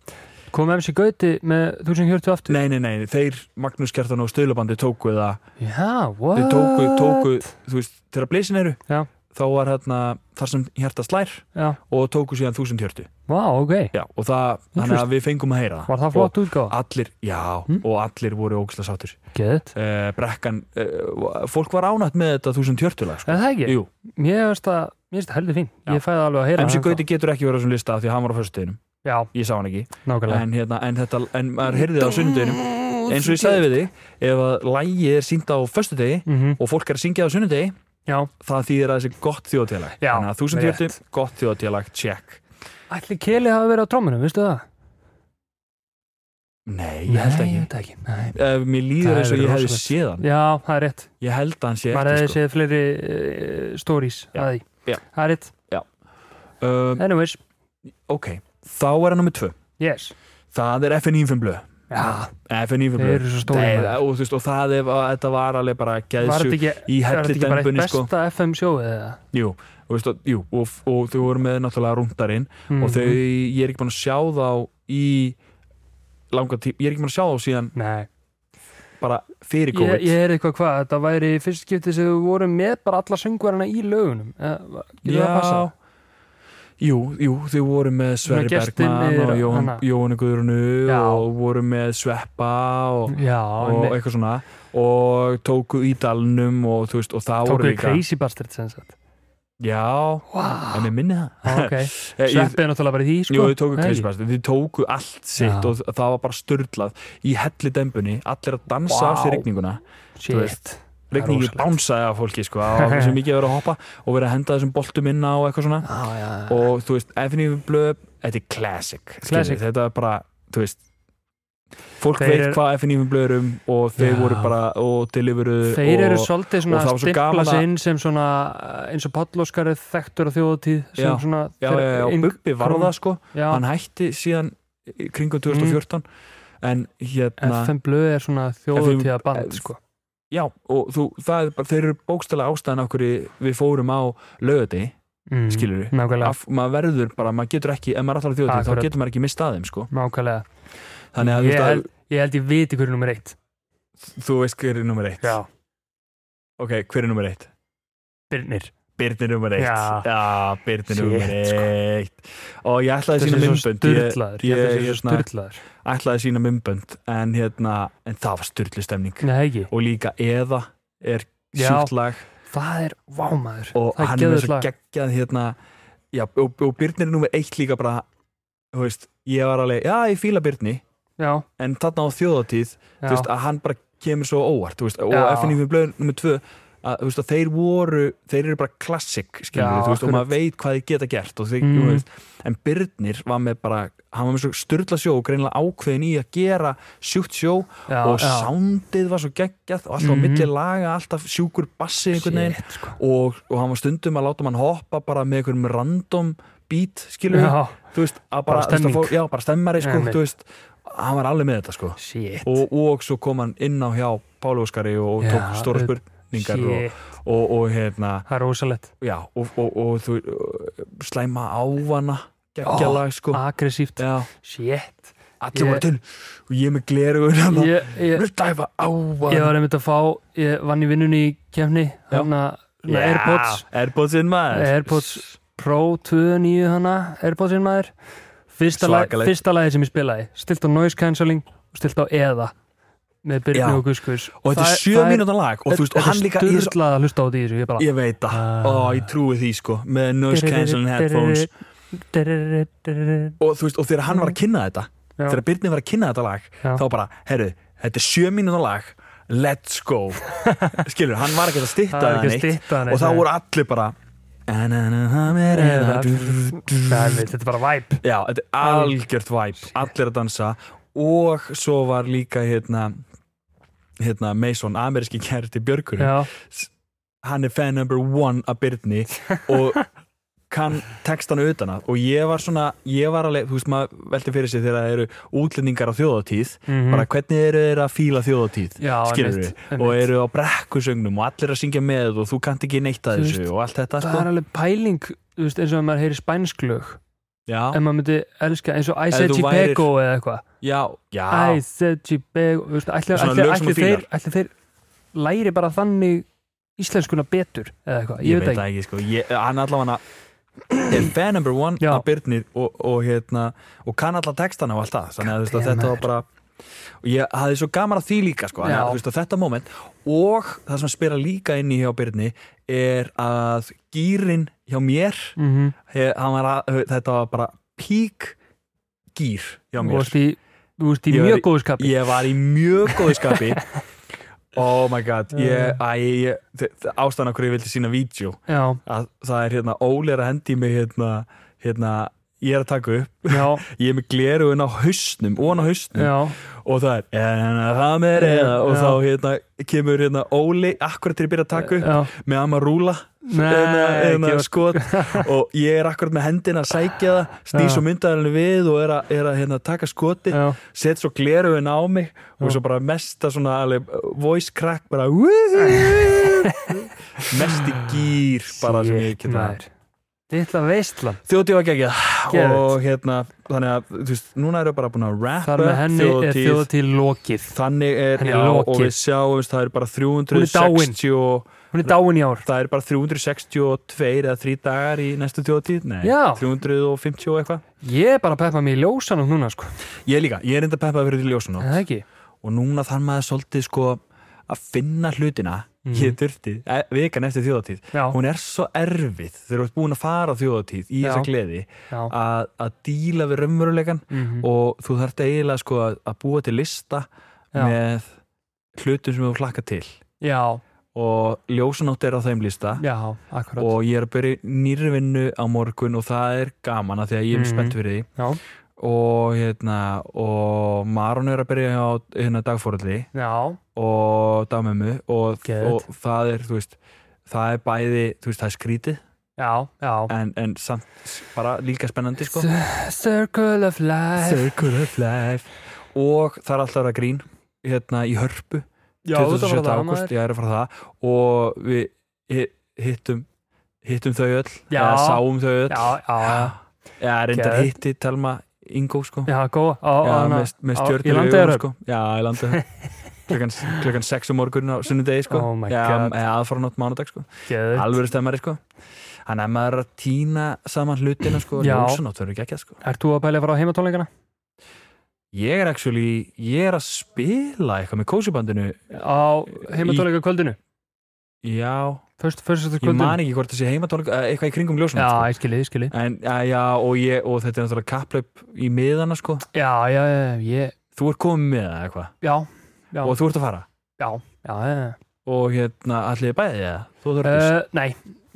Speaker 2: Kom MC Gauti með 1040 aftur
Speaker 1: nei, nei, nei, þeir Magnús Kjartan og stuðlabandi tóku það
Speaker 2: Já, what
Speaker 1: þau tóku, tóku þú veist, þegar blísin eru
Speaker 2: Já.
Speaker 1: þá var hérna þar sem hjarta slær
Speaker 2: já,
Speaker 1: og tóku síðan 1000 hjörtu
Speaker 2: vá, ok
Speaker 1: já, og það, þannig að við fengum að heyra
Speaker 2: var það flott
Speaker 1: og
Speaker 2: útgáð,
Speaker 1: allir, já,
Speaker 2: Mm.
Speaker 1: og allir voru ógislega sáttur
Speaker 2: gett
Speaker 1: uh, brekkan, uh, fólk var ánætt með þetta 1000 hjörtulag, sko
Speaker 2: en það ekki,
Speaker 1: Jú,
Speaker 2: mér finnst það mér finnst það heldur fín,
Speaker 1: Já.
Speaker 2: ég fæði alveg að heyra
Speaker 1: MC
Speaker 2: hann
Speaker 1: Gauti getur ekki verið á þessum lista af því að hann var á föstudeginum,
Speaker 2: þá. já,
Speaker 1: ég sá hann ekki
Speaker 2: nákvæmlega
Speaker 1: en, hérna, en, þetta, en maður heyrði það á sunnudeginum eins og ég sagði við þig, ef að lægið er sínt á föstudegi
Speaker 2: Mhm,
Speaker 1: og fólk er að syngja á sunnudegi
Speaker 2: já,
Speaker 1: það þýðir að þessi gott þjóðatélag
Speaker 2: Já,
Speaker 1: þannig að þúsund
Speaker 2: rétt.
Speaker 1: hjörtum, gott þjóðatélag, check
Speaker 2: ætli Keli hafi verið á trómunum, veistu það
Speaker 1: nei, ég held
Speaker 2: Nei,
Speaker 1: ekki
Speaker 2: ég veit ekki. Nei.
Speaker 1: Ef mér líður
Speaker 2: Það
Speaker 1: eins og
Speaker 2: hefur
Speaker 1: ég hefði
Speaker 2: rosalegt.
Speaker 1: séð hann
Speaker 2: Já, það er rétt
Speaker 1: ég held að hann sé
Speaker 2: maður hefði
Speaker 1: ekki sko.
Speaker 2: séð fleiri uh, stories
Speaker 1: Já.
Speaker 2: að því,
Speaker 1: Já.
Speaker 2: það er rétt
Speaker 1: um,
Speaker 2: anyways,
Speaker 1: ok, þá er hann nummið tvö
Speaker 2: yes
Speaker 1: það er FN95 blöð
Speaker 2: já,
Speaker 1: FN95
Speaker 2: þeir
Speaker 1: blöð
Speaker 2: eru svo stóri
Speaker 1: Nei, og, þú veist, og það ef að þetta var alveg bara
Speaker 2: var
Speaker 1: geðsjú
Speaker 2: þetta ekki,
Speaker 1: í
Speaker 2: var þetta ekki bara eitt
Speaker 1: hellidembunni
Speaker 2: besta
Speaker 1: sko.
Speaker 2: FM sjóið eða
Speaker 1: jú, og, veist, og, jú, og, og þau voru með náttúrulega rúndarinn
Speaker 2: mm.
Speaker 1: og þau, ég er ekki búin að sjá þá í langa tíma, ég er ekki búin að sjá þá síðan
Speaker 2: nei,
Speaker 1: bara fyrir
Speaker 2: ég,
Speaker 1: COVID
Speaker 2: ég er eitthvað hvað þetta væri í fyrst skipti sem við vorum með bara alla söngvarana í lögunum eða, getur það að passa
Speaker 1: Jú, jú, þau voru með Sverri
Speaker 2: Með gestinn
Speaker 1: Bergman
Speaker 2: niður
Speaker 1: og
Speaker 2: á-
Speaker 1: Jóhann,
Speaker 2: hana.
Speaker 1: Jóhannu Guðrunu
Speaker 2: Já. Mm,
Speaker 1: og voru með Sveppa og,
Speaker 2: já,
Speaker 1: og
Speaker 2: og
Speaker 1: eitthvað svona og tóku í dalnum og þú veist, og það voru
Speaker 2: tókuðu
Speaker 1: líka
Speaker 2: Crazy Bastard sem sagt
Speaker 1: Já,
Speaker 2: wow.
Speaker 1: en ég minni það
Speaker 2: Ah, ok,
Speaker 1: Eh, ég-
Speaker 2: sveppið er náttúrulega bara í því sko
Speaker 1: Jú, þau tóku
Speaker 2: Nei,
Speaker 1: Crazy Bastard, þau tóku allt sitt
Speaker 2: Já.
Speaker 1: og það var bara störlað í helli dembunni, allir að dansa af sér
Speaker 2: Vá.
Speaker 1: rigninguna
Speaker 2: shit.
Speaker 1: þú veist, rigningi
Speaker 2: rosalegt.
Speaker 1: bánsaði af fólki sko, á þessu mikið að vera að hoppa og vera að henda þessum boltum inn á og eitthvað svona
Speaker 2: já, já, já.
Speaker 1: og þú veist, FNV blöð þetta er classic, skilur við.
Speaker 2: Classic.
Speaker 1: þetta er bara, þú veist fólk
Speaker 2: Þeir
Speaker 1: veit
Speaker 2: eru-
Speaker 1: hvað FNV blöð er um og þeir
Speaker 2: Já.
Speaker 1: voru bara og deliveruðu
Speaker 2: Þeir eru
Speaker 1: og,
Speaker 2: svolítið
Speaker 1: og
Speaker 2: svona
Speaker 1: það
Speaker 2: að
Speaker 1: var svo
Speaker 2: stimpla
Speaker 1: gaman að-
Speaker 2: sig inn sem svona eins og Pállóskar er þekktur á þjóðatíð sem
Speaker 1: Já,
Speaker 2: svona
Speaker 1: já, já, já,
Speaker 2: inn-
Speaker 1: Bubbi var
Speaker 2: krón-
Speaker 1: það sko
Speaker 2: já,
Speaker 1: hann hætti síðan í kringum 2014
Speaker 2: Mm.
Speaker 1: en hérna
Speaker 2: FM Blöð er svona þjóðatíða band
Speaker 1: FM
Speaker 2: sko.
Speaker 1: já, og þú, það er bara, þeir eru bókstælega ástæðan okkur við fórum á lögati,
Speaker 2: mm,
Speaker 1: skilur við
Speaker 2: Nákvæmlega,
Speaker 1: af, maður verður bara, maður getur ekki ef maður er alltaf þjóðtíð,
Speaker 2: Akkurat.
Speaker 1: þá getur maður ekki mistað þeim sko.
Speaker 2: nákvæmlega.
Speaker 1: þannig að, þú
Speaker 2: ég,
Speaker 1: veist
Speaker 2: held, ég held ég viti hverju nummer eitt
Speaker 1: að þú veist hver er nummer eitt ok, hver er nummer eitt?
Speaker 2: Birnir
Speaker 1: Byrnir nummer eitt
Speaker 2: Já.
Speaker 1: já Birnir
Speaker 2: Shit,
Speaker 1: nummer
Speaker 2: sko.
Speaker 1: eitt og ég ætlaði að
Speaker 2: Þessi
Speaker 1: sína
Speaker 2: er svo
Speaker 1: myndbönd ég
Speaker 2: styrlaður Ég held
Speaker 1: ég-
Speaker 2: þessi er svo
Speaker 1: hérna-
Speaker 2: styrlaður
Speaker 1: ætlaði að sína myndbönd en, hérna, en það var styrlu stemning
Speaker 2: Nei ekki,
Speaker 1: og líka eða er
Speaker 2: Mm. Já.
Speaker 1: sjúkt lag
Speaker 2: það er vámaður
Speaker 1: og
Speaker 2: Það
Speaker 1: hann er með
Speaker 2: geðveikt
Speaker 1: svo
Speaker 2: lag.
Speaker 1: geggjað hérna, já, og, og Byrnir er nummer eitt líka bara, þú veist ég var alveg, já, ég fíla Byrni
Speaker 2: Já,
Speaker 1: en þarna á þjóðatíð, þú
Speaker 2: já,
Speaker 1: veist, að hann bara kemur svo óvart, þú veist, og
Speaker 2: Já.
Speaker 1: FNF blöð nummer tvö, að, þú veist, að þeir voru þeir eru bara klassik, skilur
Speaker 2: Já,
Speaker 1: þú veist, og
Speaker 2: akkurat.
Speaker 1: maður veit hvað þið geta gert og þeir,
Speaker 2: Mm.
Speaker 1: þú veist, en Byrnir var með bara, hann var með svo styrla sjó og greinlega ákveðin í að gera sjúkt sjó
Speaker 2: já
Speaker 1: og
Speaker 2: já.
Speaker 1: soundið var svo geggjað og alltaf á
Speaker 2: Mhm.
Speaker 1: milli laga, alltaf sjúkur bassi einhvern veginn
Speaker 2: Shit, sko.
Speaker 1: og, og hann var stundum að láta mann hoppa bara með einhverjum random beat, skilur
Speaker 2: Já,
Speaker 1: þú veist, að
Speaker 2: Bara
Speaker 1: bara, þú veist, að
Speaker 2: stemming.
Speaker 1: fólk- já, bara stemmari, sko,
Speaker 2: Einmitt.
Speaker 1: þú veist hann var alveg með þetta, sko
Speaker 2: shit
Speaker 1: og, og svo kom hann inn á hjá Pálu Óskari og
Speaker 2: Já,
Speaker 1: tók stóra
Speaker 2: auð-
Speaker 1: spurningar og,
Speaker 2: Shit,
Speaker 1: og, og hérna
Speaker 2: það er rosalett
Speaker 1: já, og, og, og þú slæma ávana geggjala sko
Speaker 2: Aggressíft,
Speaker 1: já,
Speaker 2: shit
Speaker 1: allir
Speaker 2: Ég-
Speaker 1: voru til og ég með glerugur hann
Speaker 2: ég, ég,
Speaker 1: slæma
Speaker 2: ég
Speaker 1: ávana
Speaker 2: var einmitt að fá ég vann í vinnunni í kefni
Speaker 1: Já.
Speaker 2: hana, hana Airpods
Speaker 1: Airpodsinn maður
Speaker 2: Airpods Pro 29 hana Airpodsinn maður fyrsta, lag,
Speaker 1: Svakalegt.
Speaker 2: fyrsta lagi sem ég spilaði stilt á noise cancelling og stilt á eða með Byrni
Speaker 1: Já.
Speaker 2: og Guðskus
Speaker 1: og þetta er sjö mínúta lag og þú veist, og hann líka ég,
Speaker 2: Þetta er
Speaker 1: er
Speaker 2: Ah.
Speaker 1: svo-
Speaker 2: styrlað að hlusta á því þessu ég bara
Speaker 1: ég veit það, og ég trúi því sko með noise cancelling headphones
Speaker 2: headphones
Speaker 1: og þú veist, og þegar hann var að kynna þetta
Speaker 2: Mhm. Já.
Speaker 1: þegar Byrni var að kynna þetta lag
Speaker 2: Já.
Speaker 1: þá bara, herru, þetta er sjö mínúna lag let's go skilur, hann var ekki að stitta
Speaker 2: Það er
Speaker 1: það
Speaker 2: ekki að
Speaker 1: neitt
Speaker 2: stytta hann
Speaker 1: og þá voru hérna allir bara
Speaker 2: Eða-
Speaker 1: já,
Speaker 2: Þetta er bara væp
Speaker 1: þetta er algjört væp allir að dansa og svo var líka hérna hérna Mason, ameríski kærti Björgur
Speaker 2: Já,
Speaker 1: hann er fan number one af Byrni og kann textana utan að og ég var svona, ég var alveg þú veist maður velti fyrir sig þegar það eru útlendingar á þjóðatíð,
Speaker 2: Mhm.
Speaker 1: bara hvernig eru þeir að fíla þjóðatíð,
Speaker 2: já
Speaker 1: skilur
Speaker 2: einmitt,
Speaker 1: og
Speaker 2: einmitt.
Speaker 1: eru á brekkusögnum og allir að syngja með og þú kannt ekki neitt að
Speaker 2: Þú
Speaker 1: þessu og allt þetta
Speaker 2: það
Speaker 1: sko,
Speaker 2: er alveg pæling þú veist, eins og að maður heyri spænslög
Speaker 1: já,
Speaker 2: en maður myndi elska eins og I
Speaker 1: Ef
Speaker 2: said
Speaker 1: þú
Speaker 2: Chicago eða eitthvað
Speaker 1: já, já
Speaker 2: I said Chicago þú veist, ætli,
Speaker 1: Svona
Speaker 2: ætli,
Speaker 1: lög sem
Speaker 2: ætli,
Speaker 1: þú
Speaker 2: þeir, ætli þeir læri bara þannig íslenskuna betur eða eitthvað,
Speaker 1: ég veit það ekki sko ég, hann allavega er fan number one
Speaker 2: Já.
Speaker 1: af Byrnir og, og hérna og kann alla textana og allt það þannig að, þú veist, að
Speaker 2: Goddamn,
Speaker 1: þetta var
Speaker 2: maður.
Speaker 1: bara og ég hafði svo gaman að því líka sko, þannig
Speaker 2: Já.
Speaker 1: að, þú veist, að þetta moment og það sem spila líka inn í hjá Byrni er að gýrin hjá mér
Speaker 2: mm -hmm.
Speaker 1: he, hann var að, þetta var bara pík gýr hjá
Speaker 2: Þú
Speaker 1: mér
Speaker 2: varst í, þú varst í
Speaker 1: Ég var
Speaker 2: mjög
Speaker 1: í-
Speaker 2: góðu skapi
Speaker 1: ég var í mjög góðu skapi oh my god ég, æ, ég, þ- þ- ástæðan okkur ég vildi sína vídeo
Speaker 2: Já,
Speaker 1: að það er hérna Óli er að hendi mig hérna, hérna ég er að taka upp,
Speaker 2: já,
Speaker 1: ég er með glerugun á hausnum, ofan á hausnum
Speaker 2: já
Speaker 1: og það er, en það með reyða og
Speaker 2: Já.
Speaker 1: þá hérna kemur hérna Óli akkurat til að byrja að taka upp
Speaker 2: Já,
Speaker 1: með amma rúla
Speaker 2: Nei,
Speaker 1: en
Speaker 2: ekki
Speaker 1: að
Speaker 2: var-
Speaker 1: skot og ég er akkurat með hendina að sækja það snýs
Speaker 2: Já.
Speaker 1: og myndaðarinn við og er að, er að hérna, taka skoti
Speaker 2: já,
Speaker 1: set svo gleruðin á mig og
Speaker 2: Já.
Speaker 1: svo bara mesta svona alveg, uh, voice crack bara mesti gýr bara sem ég geta
Speaker 2: Maður. Litla veistlan
Speaker 1: þjóti var geggjað
Speaker 2: Geðveikt.
Speaker 1: og hérna þannig að þú veist, núna erum við bara búin að rappa
Speaker 2: Þar með henni er
Speaker 1: þjóðatíð.
Speaker 2: þjóðatíð lokið
Speaker 1: þannig er,
Speaker 2: Henni er
Speaker 1: já, og
Speaker 2: lokið.
Speaker 1: við sjáumst það er bara
Speaker 2: dáin.
Speaker 1: 360 og,
Speaker 2: Hún er dáin í ár
Speaker 1: það er bara 362 eða 3 dagar í næstu þjóðatíð nei,
Speaker 2: Já.
Speaker 1: 350 og eitthvað
Speaker 2: Ég er bara að peppa mig í ljósanum núna sko
Speaker 1: ég líka, ég er enda peppað fyrir ljósunótt
Speaker 2: Er Það ekki
Speaker 1: og núna þarf maður svolítið sko að finna hlutina
Speaker 2: Mhm.
Speaker 1: ég þurfti, e, vikan eftir þjóðatíð
Speaker 2: Já,
Speaker 1: hún er svo erfið þegar þú ert búin að fara á þjóðatíð í
Speaker 2: Já.
Speaker 1: þessa gleði
Speaker 2: já
Speaker 1: að, að díla við raunveruleikan
Speaker 2: mhm.
Speaker 1: og þú þarft eiginlega sko að, að búa til lista
Speaker 2: Já.
Speaker 1: með hlutum sem þú hlakka til
Speaker 2: Já,
Speaker 1: og ljósanátt er á þeim lista
Speaker 2: já, akkurat
Speaker 1: og ég er að byrja nýrvinnu á morgun og það er gaman að því að ég er
Speaker 2: Mhm.
Speaker 1: spennt fyrir því
Speaker 2: Já,
Speaker 1: og hérna og Maron er að byrja á hérna dagfóralli
Speaker 2: já,
Speaker 1: og dagmömmu og,
Speaker 2: Geðveikt.
Speaker 1: og það er, þú veist það er bæði, þú veist, það er skrítið
Speaker 2: já, já
Speaker 1: en, en samt s- bara líka spennandi sko
Speaker 2: Circle of life
Speaker 1: Circle of life og það er alltaf að vera grín hérna í hörpu
Speaker 2: Já, þetta var
Speaker 1: 27.
Speaker 2: það,
Speaker 1: ágúst,
Speaker 2: maður.
Speaker 1: ég er að fara það og við hi- hittum hittum þau öll,
Speaker 2: Já.
Speaker 1: eða sáum þau öll
Speaker 2: Já, já, já
Speaker 1: já, reyndar
Speaker 2: Geðveikt.
Speaker 1: hitti Telma Ingo sko
Speaker 2: Já, góð á, á,
Speaker 1: Já,
Speaker 2: hana-
Speaker 1: með, með
Speaker 2: á-
Speaker 1: stjörnur í
Speaker 2: Í landeigara
Speaker 1: augunum, sko. Já, í landeigara klukkan, klukkan 6 um morgun á sunnudegi sko.
Speaker 2: Oh my
Speaker 1: Já,
Speaker 2: God.
Speaker 1: eða aðfaranótt mánudag sko.
Speaker 2: Geðveikt.
Speaker 1: alvöru stemmari sko. hann er maður er að týna saman hlutina sko,
Speaker 2: Já.
Speaker 1: ljósanótt verður ekki sko.
Speaker 2: Ert þú að pæla að fara á heimatónleikana?
Speaker 1: ég er actually, ég er að spila eitthvað með kósibandinu
Speaker 2: Á heimatónleika kvöldinu?
Speaker 1: já,
Speaker 2: Föstu, föstu
Speaker 1: ég
Speaker 2: kvöldinu?
Speaker 1: man ekki hvort það sé heimatónleik eh, eitthvað í kringum
Speaker 2: Já,
Speaker 1: ljósanótt sko.
Speaker 2: ég skilji, ég skilji
Speaker 1: en já, já og, ég, og þetta er náttúrulega kapplaup í miðana sko.
Speaker 2: Já, já, já, ég,
Speaker 1: þú ert komið með það eitthvað
Speaker 2: já, já,
Speaker 1: og þú ert að fara
Speaker 2: já, já, já.
Speaker 1: og hérna, allir bæðið það þú ert að
Speaker 2: Uh, nei,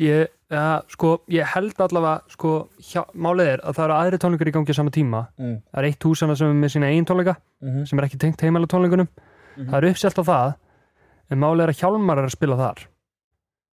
Speaker 2: ég, ja, sko, ég held allavega, sko, hjá, málið er að það eru aðri tónleikar í gangi á sama tíma.
Speaker 1: Mm.
Speaker 2: Það er eitt húsana sem er með sína einn tónleika,
Speaker 1: Mhm.
Speaker 2: sem er ekki tengt heimæla tónleikunum.
Speaker 1: Mhm.
Speaker 2: Það er uppselt á það, en málið er að Hjálmar er að spila þar,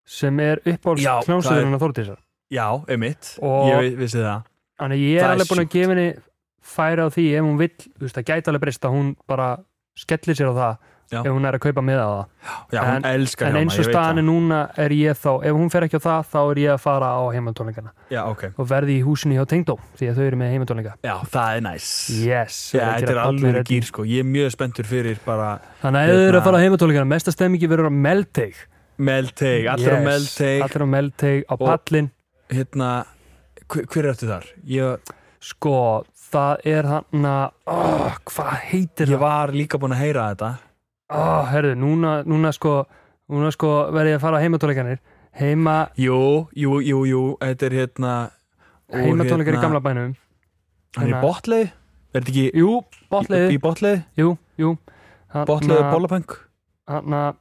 Speaker 2: sem er uppáhalds
Speaker 1: Já, það er-
Speaker 2: knásöðurinn að Þórtísar.
Speaker 1: Já, einmitt,
Speaker 2: Og-
Speaker 1: ég vi- vissi það
Speaker 2: Þannig að ég er
Speaker 1: Það er
Speaker 2: alveg búin að
Speaker 1: sjúkt.
Speaker 2: gefa henni færa á því ef hún vill, þú veist, það gæti alveg breyst að hún bara skellir sér á það
Speaker 1: Já.
Speaker 2: ef hún er að kaupa með á það.
Speaker 1: Já, hún elskar
Speaker 2: en
Speaker 1: Hjálmar,
Speaker 2: eins og
Speaker 1: ég veit
Speaker 2: staðan
Speaker 1: það.
Speaker 2: er núna er ég þá, ef hún fer ekki á það þá er ég að fara á heimatónleikana
Speaker 1: Já, ok,
Speaker 2: og verði í húsinu hjá Tengdó því að þau eru með heimatónleika
Speaker 1: já, það er næs
Speaker 2: yes,
Speaker 1: Já,
Speaker 2: það
Speaker 1: þetta er
Speaker 2: gera
Speaker 1: alveg
Speaker 2: allir
Speaker 1: gýr sko, ég er mjög spenntur fyrir bara
Speaker 2: hérna. þannig að ef þau eru að
Speaker 1: Hérna-
Speaker 2: fara á heimatónleikana mesta stemmingi verður á Meldteig
Speaker 1: meldteig, allir á meldteig
Speaker 2: allir á Meldteig, á
Speaker 1: Og-
Speaker 2: Pallin
Speaker 1: Hérna, hver, hver ertu þar? Ég,
Speaker 2: sko, það er hann að oh, hvað heitir
Speaker 1: ég
Speaker 2: það
Speaker 1: var líka búin að heyra þetta
Speaker 2: oh, herðu, núna, núna sko núna sko verði ég að fara á heimatónleikanir heima,
Speaker 1: Jú, jú, jú, jú, þetta er hérna og
Speaker 2: heimatónleikar í
Speaker 1: hérna-
Speaker 2: gamla bænum
Speaker 1: Hann er í
Speaker 2: hérna-
Speaker 1: botleið, er þetta ekki
Speaker 2: jú, botliði
Speaker 1: í botleið?
Speaker 2: jú, jú Þarna-
Speaker 1: Botleið og bollapöng?
Speaker 2: hérna,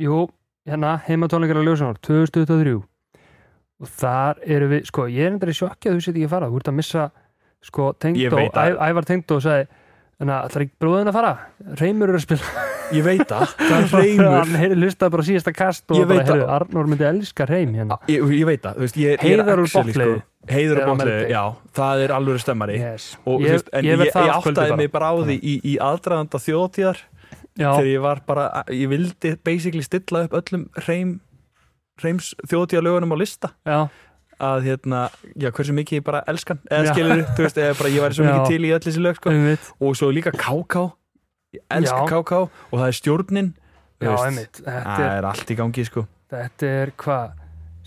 Speaker 2: jú, hérna heimatónleikar á Ljósanór 2023 og þar eru við, sko, ég er endur í sjokki að þú sétt ekki að fara, þú ert að missa sko,
Speaker 1: Ég
Speaker 2: Tengdó,
Speaker 1: veit að-
Speaker 2: Æ- Ævar Tengdó sagði, þannig að ætlar ekki bróðin að fara Reymur eru að spila
Speaker 1: Ég veit það, það er
Speaker 2: hann
Speaker 1: reymur
Speaker 2: heyri lustaði bara á síðasta kast og
Speaker 1: Ég
Speaker 2: bara,
Speaker 1: veit að-
Speaker 2: heyrðu, Arnór myndi elska Reym hérna
Speaker 1: Ég, ég veit það, þú veist, ég, ég er
Speaker 2: Heiðar úr
Speaker 1: actually, sko,
Speaker 2: Botleið.
Speaker 1: Heiður
Speaker 2: Eða
Speaker 1: og botleið,
Speaker 2: Meldteig.
Speaker 1: já, það er alveg stemmari
Speaker 2: yes.
Speaker 1: og, ég,
Speaker 2: ég,
Speaker 1: veist, en
Speaker 2: ég
Speaker 1: ég,
Speaker 2: verð
Speaker 1: ég,
Speaker 2: það að kvöldi
Speaker 1: áttaði
Speaker 2: bara
Speaker 1: mig bara á því í, í aðdraðanda þjóðtíðar þegar
Speaker 2: já,
Speaker 1: ég var bara, ég vildi basically stilla upp öllum reym reims þjóðtíðalögunum á lista
Speaker 2: já,
Speaker 1: að hérna, já hversu mikið ég bara elskan
Speaker 2: Já.
Speaker 1: eða skilur, þú veist, eða bara ég væri svo
Speaker 2: Já.
Speaker 1: mikið til í öll þessi lög sko,
Speaker 2: um mitt
Speaker 1: og svo líka KK ég elska
Speaker 2: Já.
Speaker 1: KK og það er stjórnin þú
Speaker 2: já,
Speaker 1: veist.
Speaker 2: einmitt þetta
Speaker 1: það
Speaker 2: er,
Speaker 1: er allt í gangi sko
Speaker 2: þetta er hvað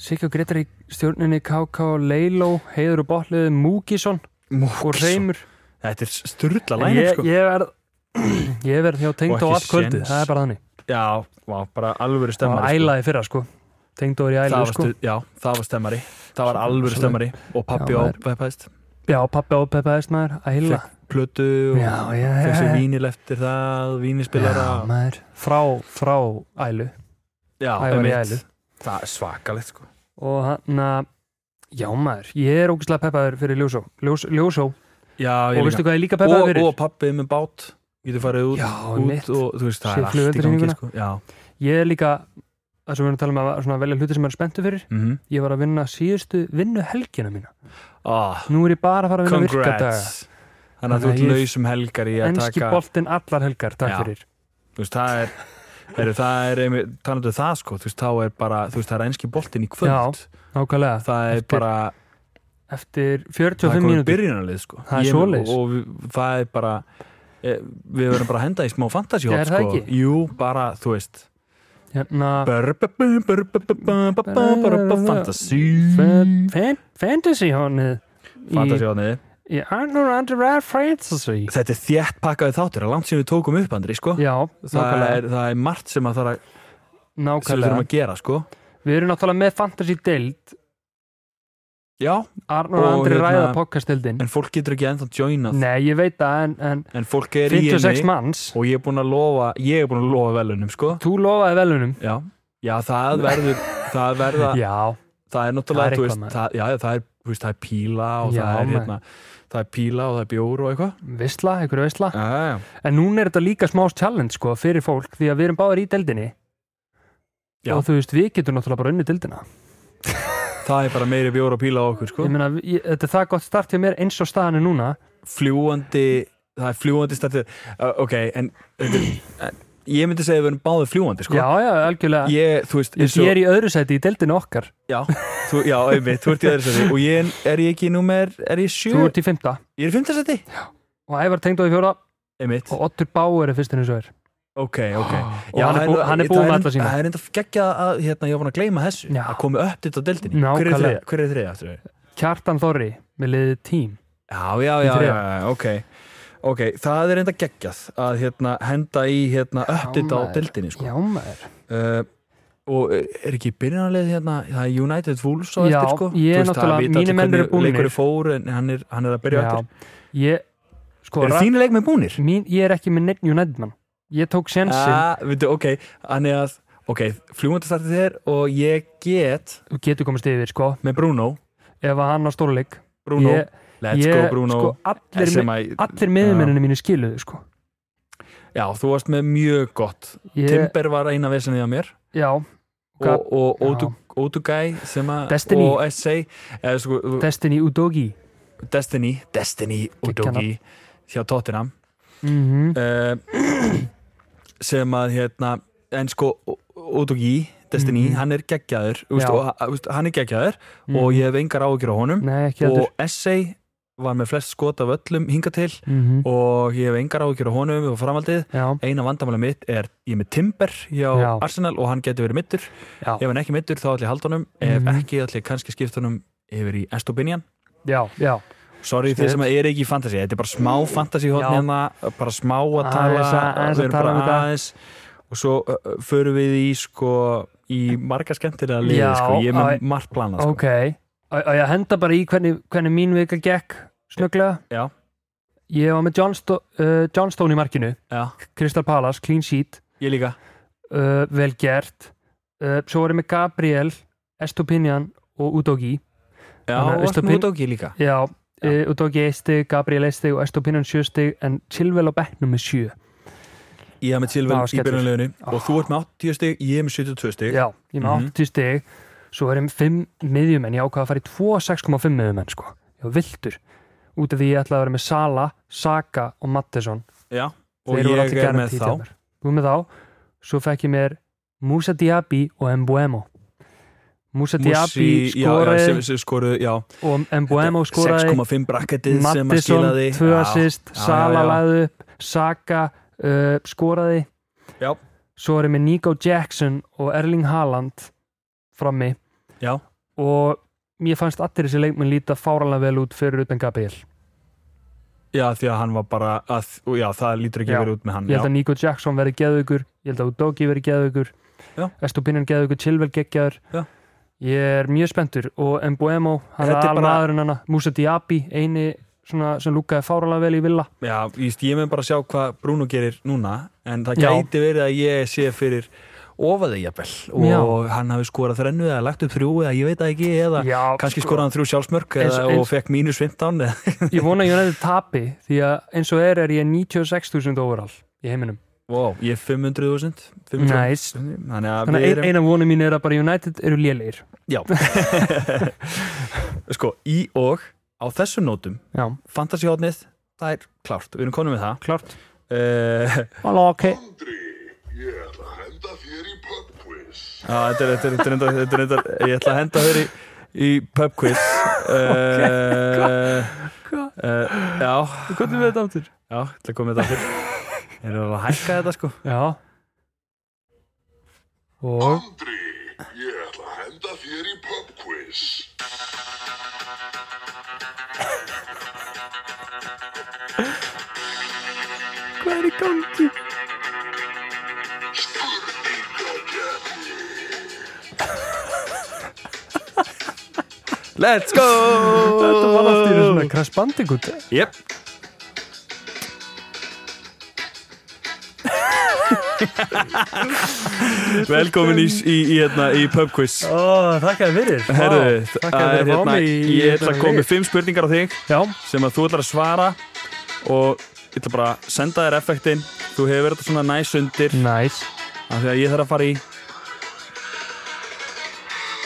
Speaker 2: Siggi og Gretar í stjórninni KK Leiló, Heiður og Botliði Múkisson og Reymur
Speaker 1: þetta er styrla
Speaker 2: En
Speaker 1: lænum
Speaker 2: ég,
Speaker 1: sko
Speaker 2: ég verð ég verð hjá tengd á
Speaker 1: Og ekki
Speaker 2: allt kvöldið,
Speaker 1: séns.
Speaker 2: það er bara þannig
Speaker 1: já, vá, bara alvöru
Speaker 2: það var
Speaker 1: stemmari sko.
Speaker 2: ælaði fyrra sko tengd á er í ælu
Speaker 1: það var,
Speaker 2: sko
Speaker 1: stu, já, það var stemmari það var alvöru
Speaker 2: Svo-
Speaker 1: stemmari og pappi
Speaker 2: Já,
Speaker 1: og
Speaker 2: maður.
Speaker 1: pæpæst
Speaker 2: já, pappi og peppaðist maður, æla
Speaker 1: plötu og
Speaker 2: já, já,
Speaker 1: þessi
Speaker 2: já,
Speaker 1: vínil eftir það vínispilara
Speaker 2: já maður frá, frá ælu
Speaker 1: já,
Speaker 2: Ævar í
Speaker 1: einmitt.
Speaker 2: ælu.
Speaker 1: það er svakalegt sko
Speaker 2: og hann að já maður, ég er ógislega peppaður fyrir ljósó ljós, ljósó,
Speaker 1: já,
Speaker 2: og
Speaker 1: ég
Speaker 2: veistu
Speaker 1: líka og,
Speaker 2: hvað ég er líka peppaður fyrir
Speaker 1: og pappi með bát getur farið út,
Speaker 2: Já,
Speaker 1: út
Speaker 2: mitt.
Speaker 1: og þú veist, það
Speaker 2: Sér
Speaker 1: er allt í gangi
Speaker 2: flugeldarýninguna.
Speaker 1: sko. já,
Speaker 2: ég er líka, það sem við erum að tala um að svona, velja hluti sem maður er spenntu fyrir
Speaker 1: mhm
Speaker 2: ég var að vinna síðustu vinnu helgina mína
Speaker 1: ah,
Speaker 2: nú er ég bara að fara að vinna virka daga
Speaker 1: Congrats Þannig að þú
Speaker 2: Þannig að
Speaker 1: ert
Speaker 2: ég-
Speaker 1: laus um helgar í að
Speaker 2: ennski
Speaker 1: taka
Speaker 2: boltinn allar helgar, takk
Speaker 1: Já.
Speaker 2: fyrir
Speaker 1: Þú veist, það er Eru, það er, einmitt- talandi um það sko, þú veist, þá er bara, þú veist, það er enski boltinn í kvöld
Speaker 2: nákvæmlega,
Speaker 1: Það er
Speaker 2: Eftir
Speaker 1: bara,
Speaker 2: eftir
Speaker 1: það
Speaker 2: 45
Speaker 1: er komið
Speaker 2: mínútur
Speaker 1: byrjunarlið sko
Speaker 2: Það er
Speaker 1: Ég-
Speaker 2: svoleiðis.
Speaker 1: Og, og við- það er bara, e, við verðum bara að henda í smá fantasy
Speaker 2: Er
Speaker 1: hot
Speaker 2: það
Speaker 1: sko
Speaker 2: ekki?
Speaker 1: Jú, bara, þú veist
Speaker 2: hérna,
Speaker 1: Fantasy
Speaker 2: fan, fantasy honið
Speaker 1: Fantasy hotnið
Speaker 2: í Arnold Underwear Fantasy
Speaker 1: Þetta er þétt pakkaði þáttur, það er langt sem við tókum upp andri sko
Speaker 2: já,
Speaker 1: Það
Speaker 2: nákvæmlega,
Speaker 1: er, það er margt sem að það er sem við
Speaker 2: nákvæmlega.
Speaker 1: þurfum að gera sko
Speaker 2: við erum náttúrulega með fantasy deild
Speaker 1: Já,
Speaker 2: Arnold
Speaker 1: Og
Speaker 2: Andri
Speaker 1: hérna-
Speaker 2: ræða podcast deildin
Speaker 1: en fólk getur ekki ennþá joinað
Speaker 2: Nei, ég veit það, en, en
Speaker 1: en fólk er í
Speaker 2: 56
Speaker 1: henni
Speaker 2: manns
Speaker 1: og ég er búin að lofa ég er búin að lofa velunum sko
Speaker 2: Þú lofaði velunum
Speaker 1: já, já það verður það, verða,
Speaker 2: Já,
Speaker 1: það er
Speaker 2: Það er
Speaker 1: náttúrulega þú
Speaker 2: eitthvað,
Speaker 1: veist,
Speaker 2: maður.
Speaker 1: það, já, já, það, er, þú veist, það er píla og
Speaker 2: Já,
Speaker 1: það, er,
Speaker 2: maður.
Speaker 1: hérna, það er píla og það er bjór og eitthvað
Speaker 2: visla, einhverju visla
Speaker 1: já, já, já.
Speaker 2: En núna er þetta líka smá challenge sko fyrir fólk því að við erum báðir í deildinni
Speaker 1: Já.
Speaker 2: og þú veist, við getum náttúrulega bara unni deildina
Speaker 1: það er bara meiri bjór og píla á okkur sko
Speaker 2: Ég meina, ég, þetta er það gott start hjá mér eins og staðan er núna
Speaker 1: fljúandi það er fljúandi startið uh, ok, en, þetta er, en ég myndi segja að við erum báðið fljúandi sko
Speaker 2: Já, já, algjörlega ég,
Speaker 1: ég, þú veist, eins
Speaker 2: ég
Speaker 1: og-
Speaker 2: er í öðru sæti í deildinu okkar
Speaker 1: Já, þú, já, einmitt, þú ert í öðru seti og ég er ég ekki númer, er ég sjö?
Speaker 2: Þú ert í fymta
Speaker 1: Ég er í fymta seti?
Speaker 2: og Ævar tengd á í fjóra
Speaker 1: Einmitt,
Speaker 2: og Ottur Báur er fyrst en eins og er
Speaker 1: ok, ok
Speaker 2: Og hann er, bú, hann er búið með alla sína
Speaker 1: Það er enda geggjað að, hérna, ég var búin að gleyma þessu
Speaker 2: Já.
Speaker 1: að komi upp á deltinni Hver er
Speaker 2: Nákvæmlega.
Speaker 1: þriðja? Hver er þriðja? aftur?
Speaker 2: Kjartan Þorri með liðið tím
Speaker 1: Já, já, já, já,
Speaker 2: þriðja.
Speaker 1: já, ok Ok, það er enda geggjað að hérna, henda í hérna, uppdita á
Speaker 2: maður.
Speaker 1: deltinni sko.
Speaker 2: Já maður
Speaker 1: uh, og er ekki byrjanarlið hérna, það er United Wolves á
Speaker 2: Já,
Speaker 1: eftir sko
Speaker 2: ég
Speaker 1: Þú veist, það
Speaker 2: náttúrulega-
Speaker 1: vita
Speaker 2: mínir
Speaker 1: allir
Speaker 2: menn eru
Speaker 1: hvernig leikur
Speaker 2: búnir.
Speaker 1: fór en hann er, hann er að byrja á
Speaker 2: Já,
Speaker 1: eftir
Speaker 2: ég, sko,
Speaker 1: Eru
Speaker 2: ra-
Speaker 1: þínu leikmenn búnir?
Speaker 2: mín, ég er ekki með neitt United mann Ég tók sjensin,
Speaker 1: Ah, veitu, ok, þannig að ok, fljúandi startið þér og ég get
Speaker 2: þú getur komast yfir sko,
Speaker 1: með Bruno,
Speaker 2: ef að hann á stórleik
Speaker 1: Bruno
Speaker 2: ég,
Speaker 1: let's
Speaker 2: ég,
Speaker 1: go Bruno
Speaker 2: sko, allir,
Speaker 1: sem
Speaker 2: mi-
Speaker 1: að-
Speaker 2: allir miðmenninu mínu skiluðu sko
Speaker 1: Já, þú varst með mjög gott
Speaker 2: ég,
Speaker 1: Timber var eina vesenið á mér
Speaker 2: Já, Gab-
Speaker 1: og, og Odu, Odugay sem að
Speaker 2: Destiny.
Speaker 1: og SA eða, sko,
Speaker 2: Destiny Udogi
Speaker 1: Destiny, Destiny Odugi hjá Tottenham
Speaker 2: mm
Speaker 1: uh, sem að hérna, en sko Odugi, Destiny,
Speaker 2: Mhm.
Speaker 1: hann er geggjaður þú veist,
Speaker 2: Já. Mhm.
Speaker 1: og, þú veist, hann er geggjaður og ég hef engar áhyggjur á honum
Speaker 2: Nei, ekki heldur
Speaker 1: og Essay var með flest skot af öllum hinga til
Speaker 2: mm
Speaker 1: og ég hef engar áhyggjur á honum og framaldið
Speaker 2: Já,
Speaker 1: eina vandamála mitt er ég er með Timber hjá
Speaker 2: Já.
Speaker 1: Arsenal og hann getur verið mittur
Speaker 2: já,
Speaker 1: ef hann er ekki mittur þá ætlum ég að halda honum ef
Speaker 2: Mhm.
Speaker 1: ekki ætlum ég kannski að skipta honum yfir í Estobinian
Speaker 2: já, já
Speaker 1: sorry
Speaker 2: Snið.
Speaker 1: þeir sem er ekki í fantasy þetta er bara smá fantasy
Speaker 2: Já.
Speaker 1: hotn hérna bara smá að tala
Speaker 2: Aðeins að- aðeins
Speaker 1: við
Speaker 2: að
Speaker 1: erum
Speaker 2: tala
Speaker 1: bara
Speaker 2: um þetta.
Speaker 1: aðeins og svo uh, uh, förum við í sko í marga skemmtilega liði
Speaker 2: Já,
Speaker 1: sko. ég er með
Speaker 2: að-
Speaker 1: margt planað sko.
Speaker 2: Ok, og og ég henda bara í hvernig, hvernig mín vika gekk snögglega
Speaker 1: Já.
Speaker 2: Ég var með Johnstone, uh, Johnstone í markinu
Speaker 1: Já,
Speaker 2: Crystal Palace, clean sheet
Speaker 1: ég líka
Speaker 2: uh, vel gert uh, svo var ég með Gabriel Estopinian og Udogi
Speaker 1: Já,
Speaker 2: Þannig
Speaker 1: og
Speaker 2: að Estopin-
Speaker 1: Snúdóki líka
Speaker 2: já, uh, Udogi 1 stig, Gabriel 1 stig og Estopinian 7 stig en Chilwell á bekknum með 7
Speaker 1: Ég hef með Silvel
Speaker 2: Það var
Speaker 1: í
Speaker 2: skellur.
Speaker 1: byrjunleginu og
Speaker 2: Ah.
Speaker 1: þú ert með 80 stig, ég hef með 72 stig
Speaker 2: já, ég með
Speaker 1: Mhm.
Speaker 2: 80 stig svo var ég með 5 miðjumenn, ég ákvað að fara í 2 6,5 miðjumenn sko, ég var vildur út af því ég ætlaði að vera með Sala Saka og Matteson
Speaker 1: Já, og ég er með þá
Speaker 2: þú er með þá, svo fekk ég mér Musa Diaby og Mbuemo Musa Diaby
Speaker 1: Musi- já, já,
Speaker 2: skoraði
Speaker 1: sem- sem skoraði já,
Speaker 2: og Mbuemo skoraði
Speaker 1: 6,5 bracketið sem að
Speaker 2: Mattisson,
Speaker 1: skilaði
Speaker 2: tvö
Speaker 1: Já,
Speaker 2: assist
Speaker 1: já,
Speaker 2: Sala
Speaker 1: já.
Speaker 2: laði upp, Saka uh, skoraði
Speaker 1: Já.
Speaker 2: svo er ég með Nico Jackson og Erling Haaland frammi
Speaker 1: já,
Speaker 2: og mér fannst allir þessi leikmenn líta fáralega vel út fyrir utan Gabriel
Speaker 1: já, því að hann var bara að, og já, það lítur ekki
Speaker 2: Já.
Speaker 1: verið út með hann
Speaker 2: ég
Speaker 1: já,
Speaker 2: held að Nico Jackson verði geðugur ég held að Udogi verði geðugur
Speaker 1: Já.
Speaker 2: Estupinan geðugur, Chilwell geggjaður
Speaker 1: Já.
Speaker 2: ég er mjög spenntur og Mbuemo, hann er
Speaker 1: Þetta er
Speaker 2: alveg
Speaker 1: bara-
Speaker 2: maðurinn hana Musa Diaby, eini svona, sem lúkaði fáralega vel í villa
Speaker 1: já, ég, ég með bara sjá hvað Bruno gerir núna en það
Speaker 2: Já.
Speaker 1: gæti verið að ég sé fyrir ofaði jafnvel og
Speaker 2: Já.
Speaker 1: hann hafi skorað þrennu eða lagt upp þrjú eða ég veit það ekki eða
Speaker 2: Já,
Speaker 1: kannski
Speaker 2: sko.
Speaker 1: skoraði hann þrjú sjálfsmörk eða,
Speaker 2: Eins- eins-
Speaker 1: og fekk mínus 15 eða
Speaker 2: ég vona að ég næði tapi því að eins og er er ég 96.000 overall í heiminum
Speaker 1: Wow, ég er 500.000 500.
Speaker 2: nice.
Speaker 1: Þannig að
Speaker 2: þannig
Speaker 1: við
Speaker 2: að ein,
Speaker 1: erum
Speaker 2: eina vonu mín er að bara United eru lélegir
Speaker 1: Já Sko, í og á þessum nótum
Speaker 2: já,
Speaker 1: Fantasíhóðnið, það er klárt Við erum konum með það
Speaker 2: klart
Speaker 1: uh,
Speaker 2: Alla, okay.
Speaker 3: Andri, ég ætla að henda þér í pubquiz.
Speaker 1: á, þetta, er, þetta, er, þetta, er, reyndar- þetta er reyndar Ég ætla að henda þér í, í pub quiz Eh, uh,
Speaker 2: hva-
Speaker 1: uh, Já,
Speaker 2: hvernig við þetta áttur?
Speaker 1: já, ég ætla að koma með þetta fyrir Erum við að hækka þetta sko
Speaker 2: já og
Speaker 3: Andri, ég ætla að henda þér í pubquiz.
Speaker 1: Hvað er í gangi?
Speaker 3: Spurningakeppni.
Speaker 1: Let's go
Speaker 2: Þetta var alltaf í svona Crash Bandicoot
Speaker 1: Jep Velkomin í, í, í, hérna, í pubquiz
Speaker 2: Ó, þakkaði fyrir
Speaker 1: Herru,
Speaker 2: Þakkaði fyrir að fá mig í
Speaker 1: hérna, ég ætla að
Speaker 2: þennan
Speaker 1: koma með
Speaker 2: leik.
Speaker 1: fimm spurningar á þig
Speaker 2: Já,
Speaker 1: sem að þú ætlar að svara og ég ætla bara að senda þér effektinn þú hefur þetta svona næs undir
Speaker 2: næs
Speaker 1: af því að ég þarf að fara í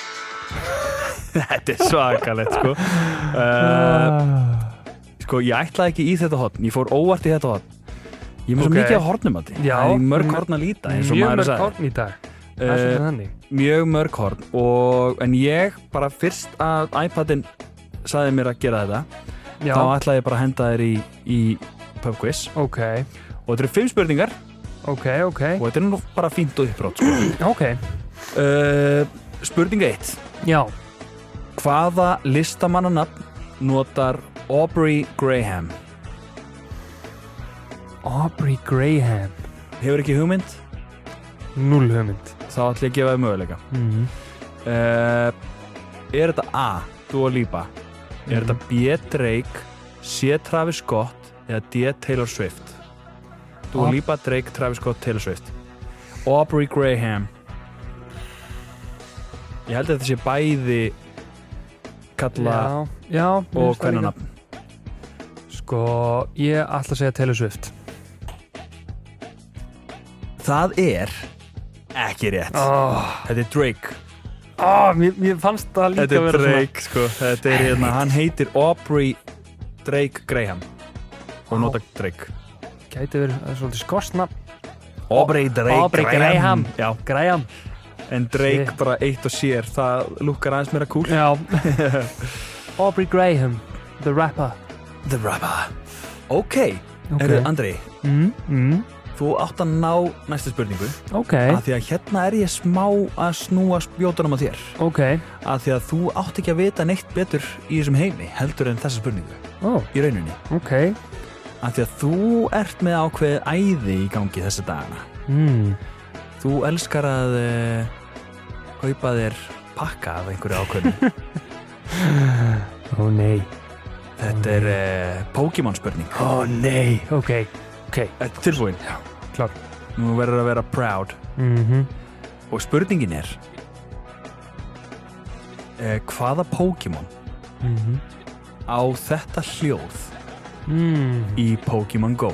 Speaker 1: Þetta er svakalegt sko uh, Sko, ég ætlaði ekki í þetta hotn, ég fór óvart í þetta hotn Ég er með
Speaker 2: Ok.
Speaker 1: svo mikið á hornum að því
Speaker 2: Já.
Speaker 1: Það er í mörg horn að líta eins og
Speaker 2: Mjög
Speaker 1: maður
Speaker 2: mörg
Speaker 1: sagði
Speaker 2: hórn í dag Það
Speaker 1: Eh,
Speaker 2: er svona þannig
Speaker 1: Mjög mörg horn og, En ég bara fyrst að iPadin sagði mér að gera þetta
Speaker 2: Já,
Speaker 1: þá ætlaði ég bara að henda þér í, í pub quiz
Speaker 2: ok,
Speaker 1: og þetta eru fimm spurningar
Speaker 2: ok, ok
Speaker 1: og þetta er nú bara fínt og uppbrot sko.
Speaker 2: Ok,
Speaker 1: uh, Spurninga 1
Speaker 2: já
Speaker 1: Hvaða listamannanafn notar Aubrey Graham?
Speaker 2: Aubrey Graham
Speaker 1: Hefur ekki hugmynd?
Speaker 2: Null hugmynd
Speaker 1: Þá ætla ég að gefa þér möguleika
Speaker 2: mm.
Speaker 1: uh, Er þetta A. Dua Lipa Er
Speaker 2: Mhm.
Speaker 1: þetta B. Drake C. Travis Scott eða D. Taylor Swift Dua
Speaker 2: Au-
Speaker 1: Lipa, Drake, Travis Scott, Taylor Swift Aubrey Graham Ég held að þetta sé bæði kalla
Speaker 2: Já, já
Speaker 1: og
Speaker 2: mér finnst það líka.
Speaker 1: hvernanafn
Speaker 2: Sko, ég ætla að segja Taylor Swift
Speaker 1: Það er ekki rétt
Speaker 2: oh.
Speaker 1: Þetta er Drake
Speaker 2: oh, mér, mér fannst það líka
Speaker 1: Þetta er
Speaker 2: vera svona-
Speaker 1: Drake sko Þetta er hérna, hann heitir Aubrey Drake Graham og nota Drake
Speaker 2: Gæti verið það er svolítið skostna
Speaker 1: Aubrey Drake
Speaker 2: Aubrey Graham.
Speaker 1: Já,
Speaker 2: Graham
Speaker 1: en Drake
Speaker 2: Shit.
Speaker 1: bara eitt og sér það lukkar aðeins meira cool
Speaker 2: Já Aubrey Graham, the rapper
Speaker 1: The Rapper Ok,
Speaker 2: Ok.
Speaker 1: okay. Andri
Speaker 2: mm, mm,
Speaker 1: þú átt að ná næstu spurningu
Speaker 2: Ok,
Speaker 1: af því að hérna er ég smá að snúa spjótunum að þér
Speaker 2: ok
Speaker 1: af því að þú átt ekki að vita neitt betur í þessum heimi heldur en þessa spurningu
Speaker 2: oh,
Speaker 1: í rauninni
Speaker 2: Ok
Speaker 1: af því að þú ert með ákveðið æði í gangi þessa dagana
Speaker 2: mm.
Speaker 1: þú elskar að uh, kaupa þér pakka af einhverju ákveðinu
Speaker 2: Ó nei
Speaker 1: þetta er uh, Pokémon spurning
Speaker 2: Ó nei Ok, ok,
Speaker 1: Þetta er tilbúin
Speaker 2: klart
Speaker 1: Nú verður að vera proud
Speaker 2: mm
Speaker 1: Og spurningin er eh, Hvaða Pokémon
Speaker 2: Mhm.
Speaker 1: á þetta hljóð
Speaker 2: mm,
Speaker 1: í Pokémon Go?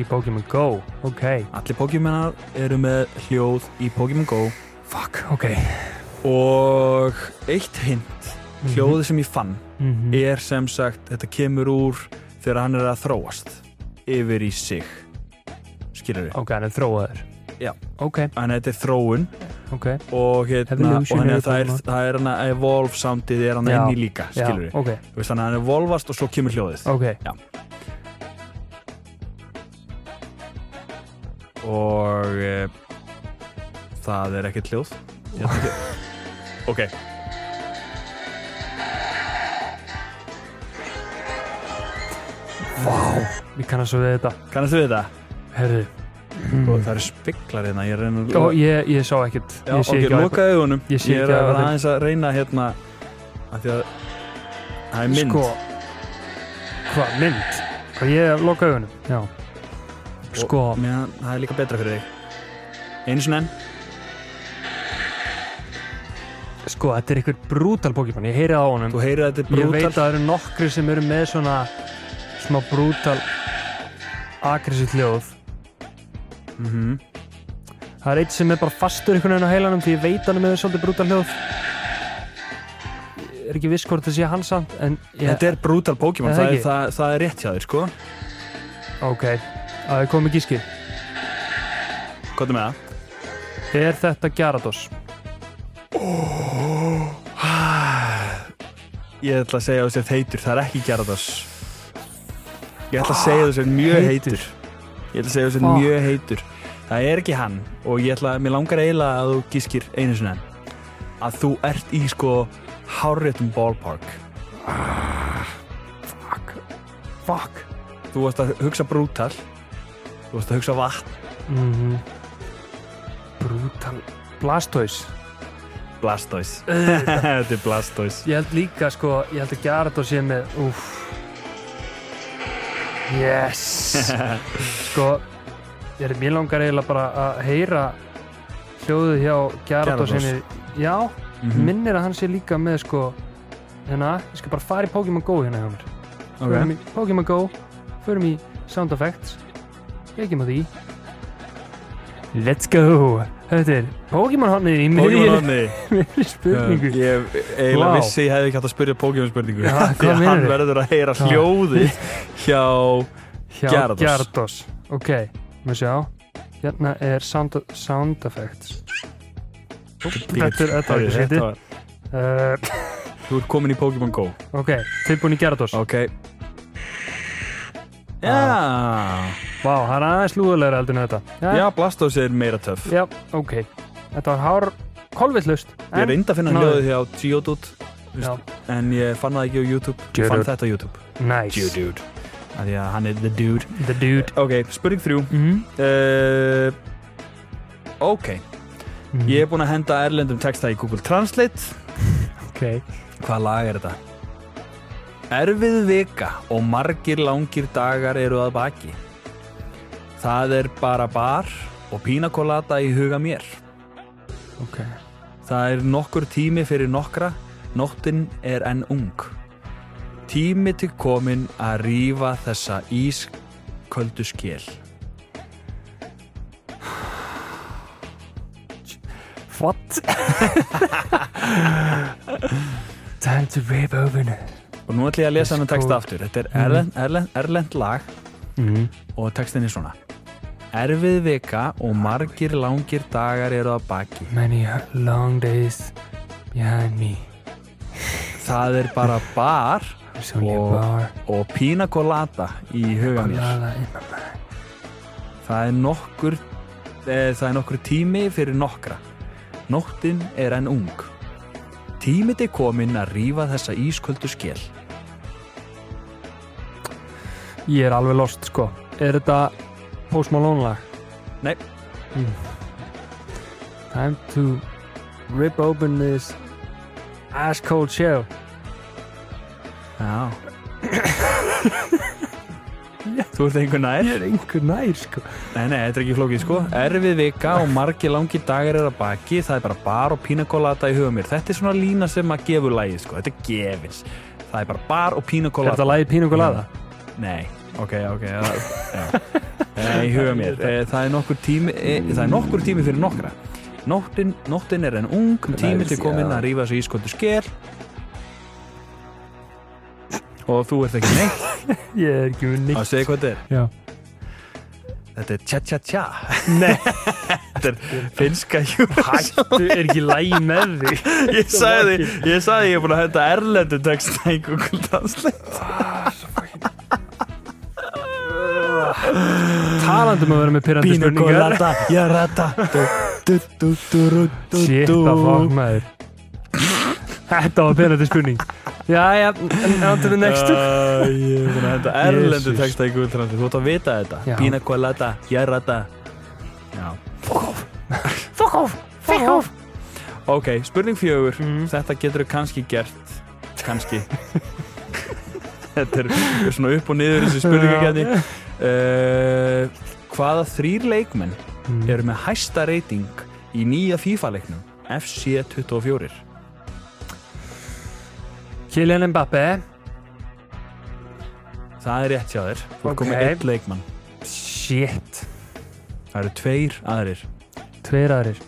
Speaker 2: Í Pokémon Go, ok
Speaker 1: Allir Pokémonar eru með hljóð í Pokémon Go
Speaker 2: Fuck, ok
Speaker 1: og eitt hint
Speaker 2: Mhm.
Speaker 1: hljóði sem ég fann
Speaker 2: mm
Speaker 1: er sem sagt, þetta kemur úr þegar hann er að þróast yfir í sig skilur við,
Speaker 2: Ok, hann er þróaður
Speaker 1: Já.
Speaker 2: Ok,
Speaker 1: en þetta er þróun
Speaker 2: ok
Speaker 1: og hérna, og
Speaker 2: Evolutionary
Speaker 1: hann er það er,
Speaker 2: Pokémon.
Speaker 1: það er hann að evolve soundið er hann
Speaker 2: Já.
Speaker 1: inn í líka, skilur við
Speaker 2: Já, Ok,
Speaker 1: Þú veist þannig að hann er volvast og svo kemur hljóðið
Speaker 2: ok
Speaker 1: og e, það er ekkert hljóð Ég ætla ekki- ok
Speaker 2: Ég kannast svo við þetta.
Speaker 1: kannast við þetta
Speaker 2: Herðu,
Speaker 1: og það eru spiklar hérna ég reyna að
Speaker 2: Mm. Ó, ég, ég sá ekkert.
Speaker 1: Já,
Speaker 2: ég sé
Speaker 1: ok,
Speaker 2: ekki á
Speaker 1: loka augunum
Speaker 2: Ég sé
Speaker 1: ég er
Speaker 2: ekki á
Speaker 1: að vera
Speaker 2: þeim.
Speaker 1: aðeins að reyna hérna að því að það er mynd
Speaker 2: Sko, hvað, mynd? Hvað ég hef loka augunum? Já. Sko,
Speaker 1: og, meðan, það er líka betra fyrir þig einu sinni enn
Speaker 2: sko, þetta er einhver brútal Pokémon, ég heyrið á honum.
Speaker 1: þú heyrið að þetta er
Speaker 2: Ég veit
Speaker 1: brútal
Speaker 2: að það eru nokkri sem eru með svona smá brútal agressív hljóð.
Speaker 1: Mhm.
Speaker 2: Það er eitt sem er bara fastur einhvern veginn á heilanum því ég veit hann er með svolítið brútal hljóð. Ég er ekki viss hvort það sé hans samt, en ég...
Speaker 1: þetta er brútal Pokémon
Speaker 2: Er
Speaker 1: það,
Speaker 2: það
Speaker 1: er-
Speaker 2: ekki?
Speaker 1: það, það er rétt hjá þér sko
Speaker 2: Ok, að ég komið gíski.
Speaker 1: hvað er með það?
Speaker 2: Er þetta Gyarados?
Speaker 1: ég ætla að segja að þú sért heitur það er ekki Gyarados ég ætla að segja að þú sért mjög
Speaker 2: heitur.
Speaker 1: heitur ég ætla að segja að þú sért
Speaker 2: Fuck.
Speaker 1: mjög heitur það er ekki hann og ég ætla mér langar eiginlega að þú gískir einu sinni enn að þú ert í sko háréttum ballpark
Speaker 2: Fuck. Fuck.
Speaker 1: þú varst að hugsa brútal þú varst að hugsa vatn
Speaker 2: Mm Brútal Blastoise
Speaker 1: Blastoise þetta er Blastoise
Speaker 2: Ég held líka sko, ég held að Gyarados sé með Úff Yes Sko, ég er mjög langar eiginlega bara að heyra hljóðið hjá
Speaker 1: Gyarados.
Speaker 2: Gyarados henni Já,
Speaker 1: Mhm.
Speaker 2: minnir að hann sé líka með sko hérna, ég skal bara fara í Pokémon Go hérna hjá mér Förum í Pokémon Go Förum í Sound Effects Kveikjum á því Let's go Þetta er Pokémon honnið í
Speaker 1: Pokémon
Speaker 2: miðjum
Speaker 1: Onni
Speaker 2: spurningu
Speaker 1: Ég eiginlega
Speaker 2: Vá.
Speaker 1: vissi ég hefði ekki hægt að spyrja Pokémon spurningu
Speaker 2: Já,
Speaker 1: Því
Speaker 2: hvað
Speaker 1: að hann
Speaker 2: meinarðu?
Speaker 1: verður að heyra
Speaker 2: Já.
Speaker 1: hljóði hjá
Speaker 2: hjá
Speaker 1: Gyarados.
Speaker 2: Gyarados Ok, maður sjá Hérna er Sound, sound Effects Þetta er þetta var ekki
Speaker 1: Þetta
Speaker 2: seti
Speaker 1: var-
Speaker 2: uh,
Speaker 1: Þú ert komin í Pokémon Go
Speaker 2: Ok, tilbúin í Gyarados Vá,
Speaker 1: Ok Já
Speaker 2: það er aðeins lúðulegra heldur en þetta
Speaker 1: Já, Blastos er meira töff
Speaker 2: Já, ok Þetta var hár kolvillust
Speaker 1: Ég reyndi að finna
Speaker 2: náði.
Speaker 1: hljóðið hjá Geodude þú veist, En ég fann það ekki á YouTube Ég fann
Speaker 2: Geodude.
Speaker 1: þetta á YouTube
Speaker 2: Nice
Speaker 1: Geodude Af Því að hann er the dude
Speaker 2: The dude
Speaker 1: Ok, spurning þrjú
Speaker 2: mm
Speaker 1: uh, Ok,
Speaker 2: mm,
Speaker 1: ég er búinn að henda erlendum texta í Google Translate
Speaker 2: Ok
Speaker 1: Hvað lag er þetta? Erfið vika og margir langir dagar eru að baki. Það er bara bar og pínakolata í huga mér.
Speaker 2: Ok
Speaker 1: Það er nokkur tími fyrir nokkra, nóttin er enn ung. Tími til komin að rífa þessa ísköldu skél.
Speaker 2: What? Time to rip open
Speaker 1: Og nú ætlum ég að lesa hennar texta
Speaker 2: Sko-
Speaker 1: aftur. Þetta er erlend, erlend, erlend lag
Speaker 2: mm.
Speaker 1: og textin er svona. Erfið vika og margir langir dagar eru að baki.
Speaker 2: Many uh, long days behind me
Speaker 1: Það er bara bar
Speaker 2: There's only
Speaker 1: Og-
Speaker 2: a bar
Speaker 1: og pína colada í huga mér.
Speaker 2: Lala in my mind
Speaker 1: Það er nokkur, e, það er nokkur tími fyrir nokkra. Nóttin er enn ung. Tímið er komin að rífa þessa ísköldu skél.
Speaker 2: Ég er alveg lost sko Er þetta Post Malone lag?
Speaker 1: Nei.
Speaker 2: mm. Time to rip open this ice cold shell
Speaker 1: Já. Þú ert einhver nær?
Speaker 2: er einhver nær sko
Speaker 1: Nei, nei, þetta er ekki flókið sko. Erfið vika og margi langi dagar er að baki, það er bara bar og pínakolata í huga mér. Þetta er svona lína sem að gefur lagið sko, þetta er gefins. Það er bara bar og
Speaker 2: Er
Speaker 1: pínakolata.
Speaker 2: þetta lagið pínu og laða?
Speaker 1: Nei, ok, ok það, já. Nei, í huga mér Eh, Það er nokkur tími eh, Það er nokkur tími fyrir nokkra Nóttin, nóttin er en ung Tími til komin að rífa sig ísköldu sker Og þú ert ekki neitt
Speaker 2: Ég er ekki með
Speaker 1: Að
Speaker 2: neitt
Speaker 1: segja hvað þetta er
Speaker 2: Já
Speaker 1: Þetta er tja tja tja Nei Þetta er finska júras
Speaker 2: Þú er ekki lægi með þig
Speaker 1: Ég sagði, ég sagði ég er búin að henda erlendu texta í Google Translate
Speaker 2: um Talandum að vera með pyrrandi spurningar
Speaker 1: jarata du,
Speaker 2: Shit, að fokk maður Þetta var penandi spurning Jæja, and on to the next
Speaker 1: Uh, ég er búin að henda erlendu
Speaker 2: Jesus.
Speaker 1: texta í gulltrandi Þú ert að vita þetta
Speaker 2: Já.
Speaker 1: Pina colada, jarrata Já
Speaker 2: Fuck off, fuck off
Speaker 1: Ok, spurning fjögur
Speaker 2: Mm.
Speaker 1: Þetta getur þú kannski gert Kannski Þetta er svona upp og niður þessi spurningakefni uh, Hvaða þrýr leikmenn
Speaker 2: Mm.
Speaker 1: eru með hæsta reyting í nýja FIFA-leiknum FC24
Speaker 2: Kylian Mbappe
Speaker 1: Það er rétt hjá þér Þú
Speaker 2: Ok.
Speaker 1: er komið eitt leikmann
Speaker 2: Shit,
Speaker 1: Það eru tveir aðrir
Speaker 2: tveir aðrir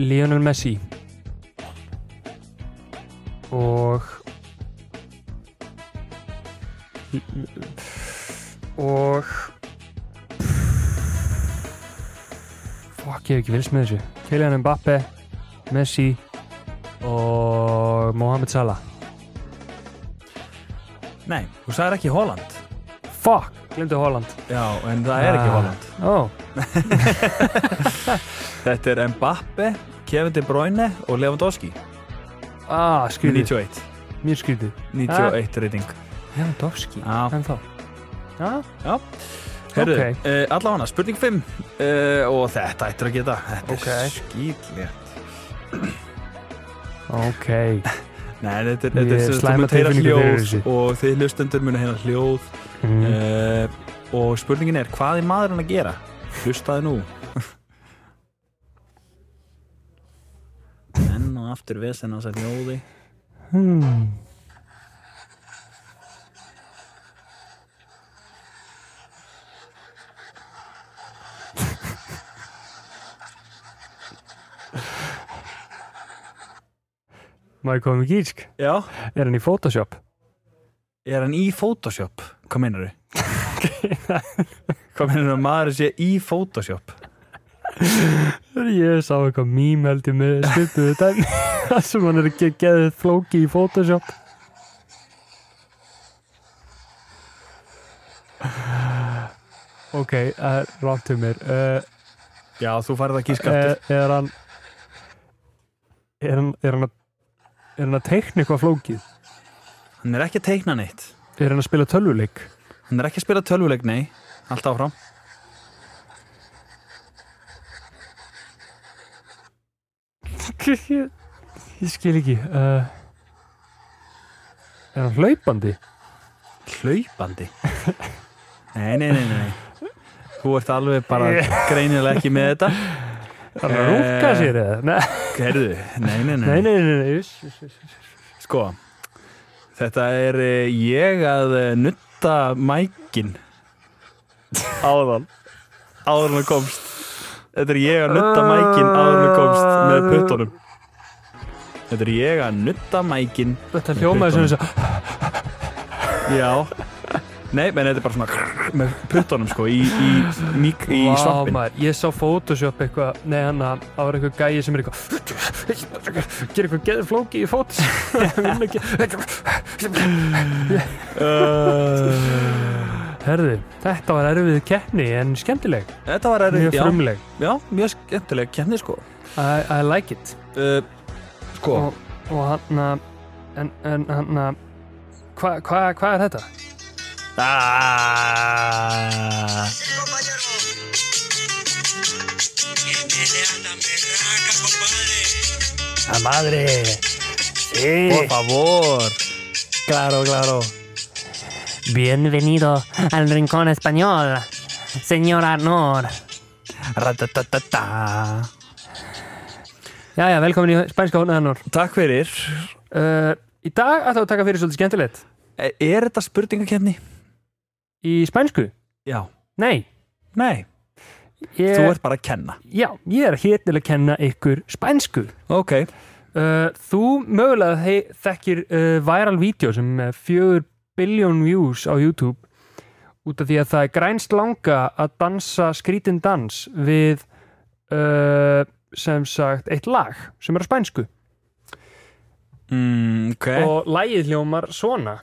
Speaker 2: Lionel Messi Og Og Fuck, ég hef ekki vilst með þessu Kylian Mbappe Messi Og Mohamed Salah
Speaker 1: Nei, þú sagðir ekki Holland
Speaker 2: Fuck, glemdu Holland
Speaker 1: Já, en það er ekki
Speaker 2: Ah.
Speaker 1: Holland
Speaker 2: Ó,
Speaker 1: Þetta er Mbappe, Kevin De Bruyne og Lewandowski
Speaker 2: ah, skrítið
Speaker 1: 91
Speaker 2: Mér skrítið
Speaker 1: 91 reyting
Speaker 2: Lewandowski,
Speaker 1: Já.
Speaker 2: hann þá Já,
Speaker 1: Herru, okay.
Speaker 2: Ok.
Speaker 1: uh, allavega spurning 5 uh, og þetta ættir að geta Þetta
Speaker 2: Ok.
Speaker 1: er skýtlétt
Speaker 2: ok
Speaker 1: Nei, þetta er,
Speaker 2: Ég
Speaker 1: þetta er sem
Speaker 2: hef
Speaker 1: sagt, þú
Speaker 2: slæma
Speaker 1: munt heyra
Speaker 2: tilfinningu fyrir þessu.
Speaker 1: hljóð og þið hlustendur munu heyra hljóð
Speaker 2: mm.
Speaker 1: uh, og spurningin er hvað er maðurinn að gera? Hlustaði nú Enn og aftur vesen hans að hljóði
Speaker 2: Hmm. Má ég koma með gísk?
Speaker 1: Já,
Speaker 2: Er hann í Photoshop?
Speaker 1: er hann í Photoshop? Hvað meinar þau? Hvað meinar þau að maðurinn sé í Photoshop?
Speaker 2: Ég sá eitthvað mím held ég með stuttuðu dæmi Það sem hann er ekki að geða flóki í Photoshop Ok, það er rátt um mér uh,
Speaker 1: Já, þú farið að gíska
Speaker 2: er,
Speaker 1: aftur
Speaker 2: er hann Er hann Er hann að, er hann að teikna eitthvað flókið?
Speaker 1: Eh, Hann er ekki að teikna neitt
Speaker 2: Er hann að spila tölvuleik?
Speaker 1: Hann er ekki að spila tölvuleik, nei Allt áfram
Speaker 2: ég, ég skil ekki uh, Er hann hlaupandi?
Speaker 1: Hlaupandi Nei, nei, nei, nei Þú ert alveg bara greinilega ekki með þetta
Speaker 2: Er hann að rúka
Speaker 1: Eh,
Speaker 2: sér eða? Nei,
Speaker 1: Gerðu, nei, nei, nei,
Speaker 2: nei, nei, nei, nei, uss, uss, uss.
Speaker 1: Sko, þetta er eh, ég að eh, nutta mækin Áðan Áður hann komst Þetta er ég að nutta mækin áður hann komst með puttunum Þetta er ég að nutta mækin
Speaker 2: Þetta hljómaði sem þess að
Speaker 1: Já Nei, menn þetta er bara svona með puttunum sko í, í, í, í svampin
Speaker 2: maður, ég sá Photoshop eitthvað Nei, hann að það var eitthvað gæi sem er eitthvað Gerir eitthvað geður flóki í Photoshop Ég vinn ekki.
Speaker 1: Eh.
Speaker 2: Herðu, þetta var erfið keppni En skemmtileg,
Speaker 1: Þetta var erfið
Speaker 2: mjög
Speaker 1: já,
Speaker 2: frumleg
Speaker 1: já, mjög skemmtileg kemni sko
Speaker 2: I, I like it
Speaker 1: uh, Sko,
Speaker 2: Og, og øh, hann að En, en hann að Hvað øh, hva, hva er þetta?
Speaker 1: Ah.
Speaker 2: Að madri
Speaker 1: Por favor
Speaker 2: Claro, claro Bienvenido al rincón español Señor Arnór
Speaker 1: Ratatatata.
Speaker 2: Jæja, velkomin í spænska hónaðanur.
Speaker 1: Takk fyrir
Speaker 2: Uh, í dag ætlaðu að taka fyrir svolítið skemmtilegt.
Speaker 1: E- Er þetta spurningakefni?
Speaker 2: Í spænsku?
Speaker 1: Já
Speaker 2: Nei.
Speaker 1: Nei,
Speaker 2: Ég,
Speaker 1: þú ert bara að kenna
Speaker 2: Já, ég er hér til að kenna ykkur spænsku.
Speaker 1: Ok,
Speaker 2: Uh, þú mögulega hei, þekkir uh, viral vídeo sem er með fjögur billion views á YouTube út af því að það er grænst langa að dansa skrítin dans við uh, sem sagt eitt lag sem er á spænsku
Speaker 1: mm, okay.
Speaker 2: og lagið hljómar svona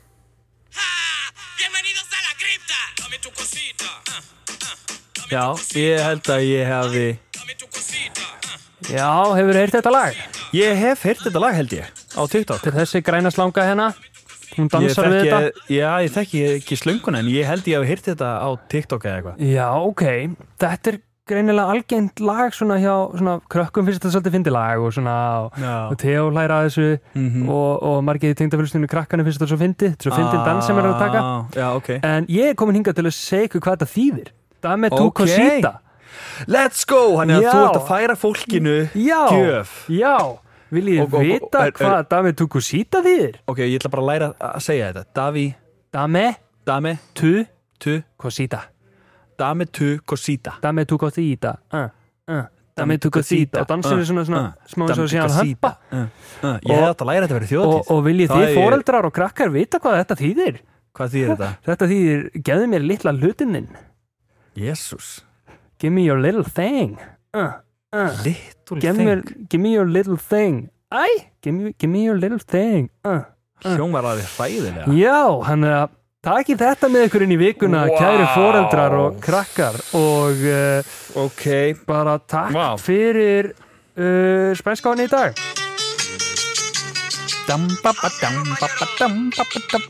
Speaker 4: Bienvenidos a la cripta. Dame tu cosita. ah,
Speaker 1: Já, ég held að ég hefði
Speaker 4: Dame tu cosita.
Speaker 2: Já, hefur þú heyrt þetta lag?
Speaker 1: Ég hef heyrt þetta lag held ég á TikTok
Speaker 2: Þetta er þessi græna slanga hérna
Speaker 1: Ég
Speaker 2: Hún dansar við
Speaker 1: þekki-
Speaker 2: þetta
Speaker 1: Já, ég þekki ekki slönguna en ég held ég hef heyrt þetta á TikTok eða eitthvað
Speaker 2: Já, ok Þetta er greinilega algengt lag svona hjá svona krökkum finnst þetta svolítið fyndi lag og svona og,
Speaker 1: Já. Mhm.
Speaker 2: og Teo læra að þessu og, og margir í tengdafélstunni krakkanum finnst þetta svo fyndi svo fyndin dans sem er að taka
Speaker 1: Ah, Já, ok
Speaker 2: En ég er komin hingað til að segja ykkur hvað þetta þýðir Dame tu
Speaker 1: Ok.
Speaker 2: okay. cosita
Speaker 1: Let's go, hann er að
Speaker 2: Já.
Speaker 1: þú ert að færa fólkinu
Speaker 2: Já,
Speaker 1: Gjöf.
Speaker 2: já Viljið
Speaker 1: Og-
Speaker 2: þið
Speaker 1: og-
Speaker 2: vita
Speaker 1: er- er-
Speaker 2: hvað Dame tu cosita þýðir?
Speaker 1: Ok, ég ætla bara að læra að segja þetta Davi,
Speaker 2: Dame
Speaker 1: dame,
Speaker 2: tu
Speaker 1: tu,
Speaker 2: cosita
Speaker 1: dame, tu, cosita
Speaker 2: Dame tu cosita uh, uh. Dame tu
Speaker 1: cosita.
Speaker 2: cosita Og dansir
Speaker 1: Uh,
Speaker 2: svona, svona
Speaker 1: uh.
Speaker 2: smá eins og
Speaker 1: Dame tu
Speaker 2: sé hann
Speaker 1: cosita.
Speaker 2: hömpa
Speaker 1: Uh, uh, Ég hef
Speaker 2: Ah, Og-
Speaker 1: átt að læra þetta að vera
Speaker 2: Og,
Speaker 1: þjóðatíð
Speaker 2: og viljið
Speaker 1: Það
Speaker 2: þið
Speaker 1: er-
Speaker 2: foreldrar og krakkar vita hvað þetta þýðir?
Speaker 1: Hvað þýðir þetta?
Speaker 2: Þetta þýðir, geðu mér litla hlutinn
Speaker 1: Jésús
Speaker 2: Give me your little thing uh, uh.
Speaker 1: Little
Speaker 2: give me,
Speaker 1: thing
Speaker 2: give me your little thing Æ, give me, give me your little thing uh.
Speaker 1: Hljómar að þið hræðilega
Speaker 2: Já, hann er að Takk þetta með ykkur inn í vikuna,
Speaker 1: Vá.
Speaker 2: kæri foreldrar og krakkar og uh,
Speaker 1: Ok
Speaker 2: bara takk
Speaker 1: Vá.
Speaker 2: fyrir uh, spænskáni í dag.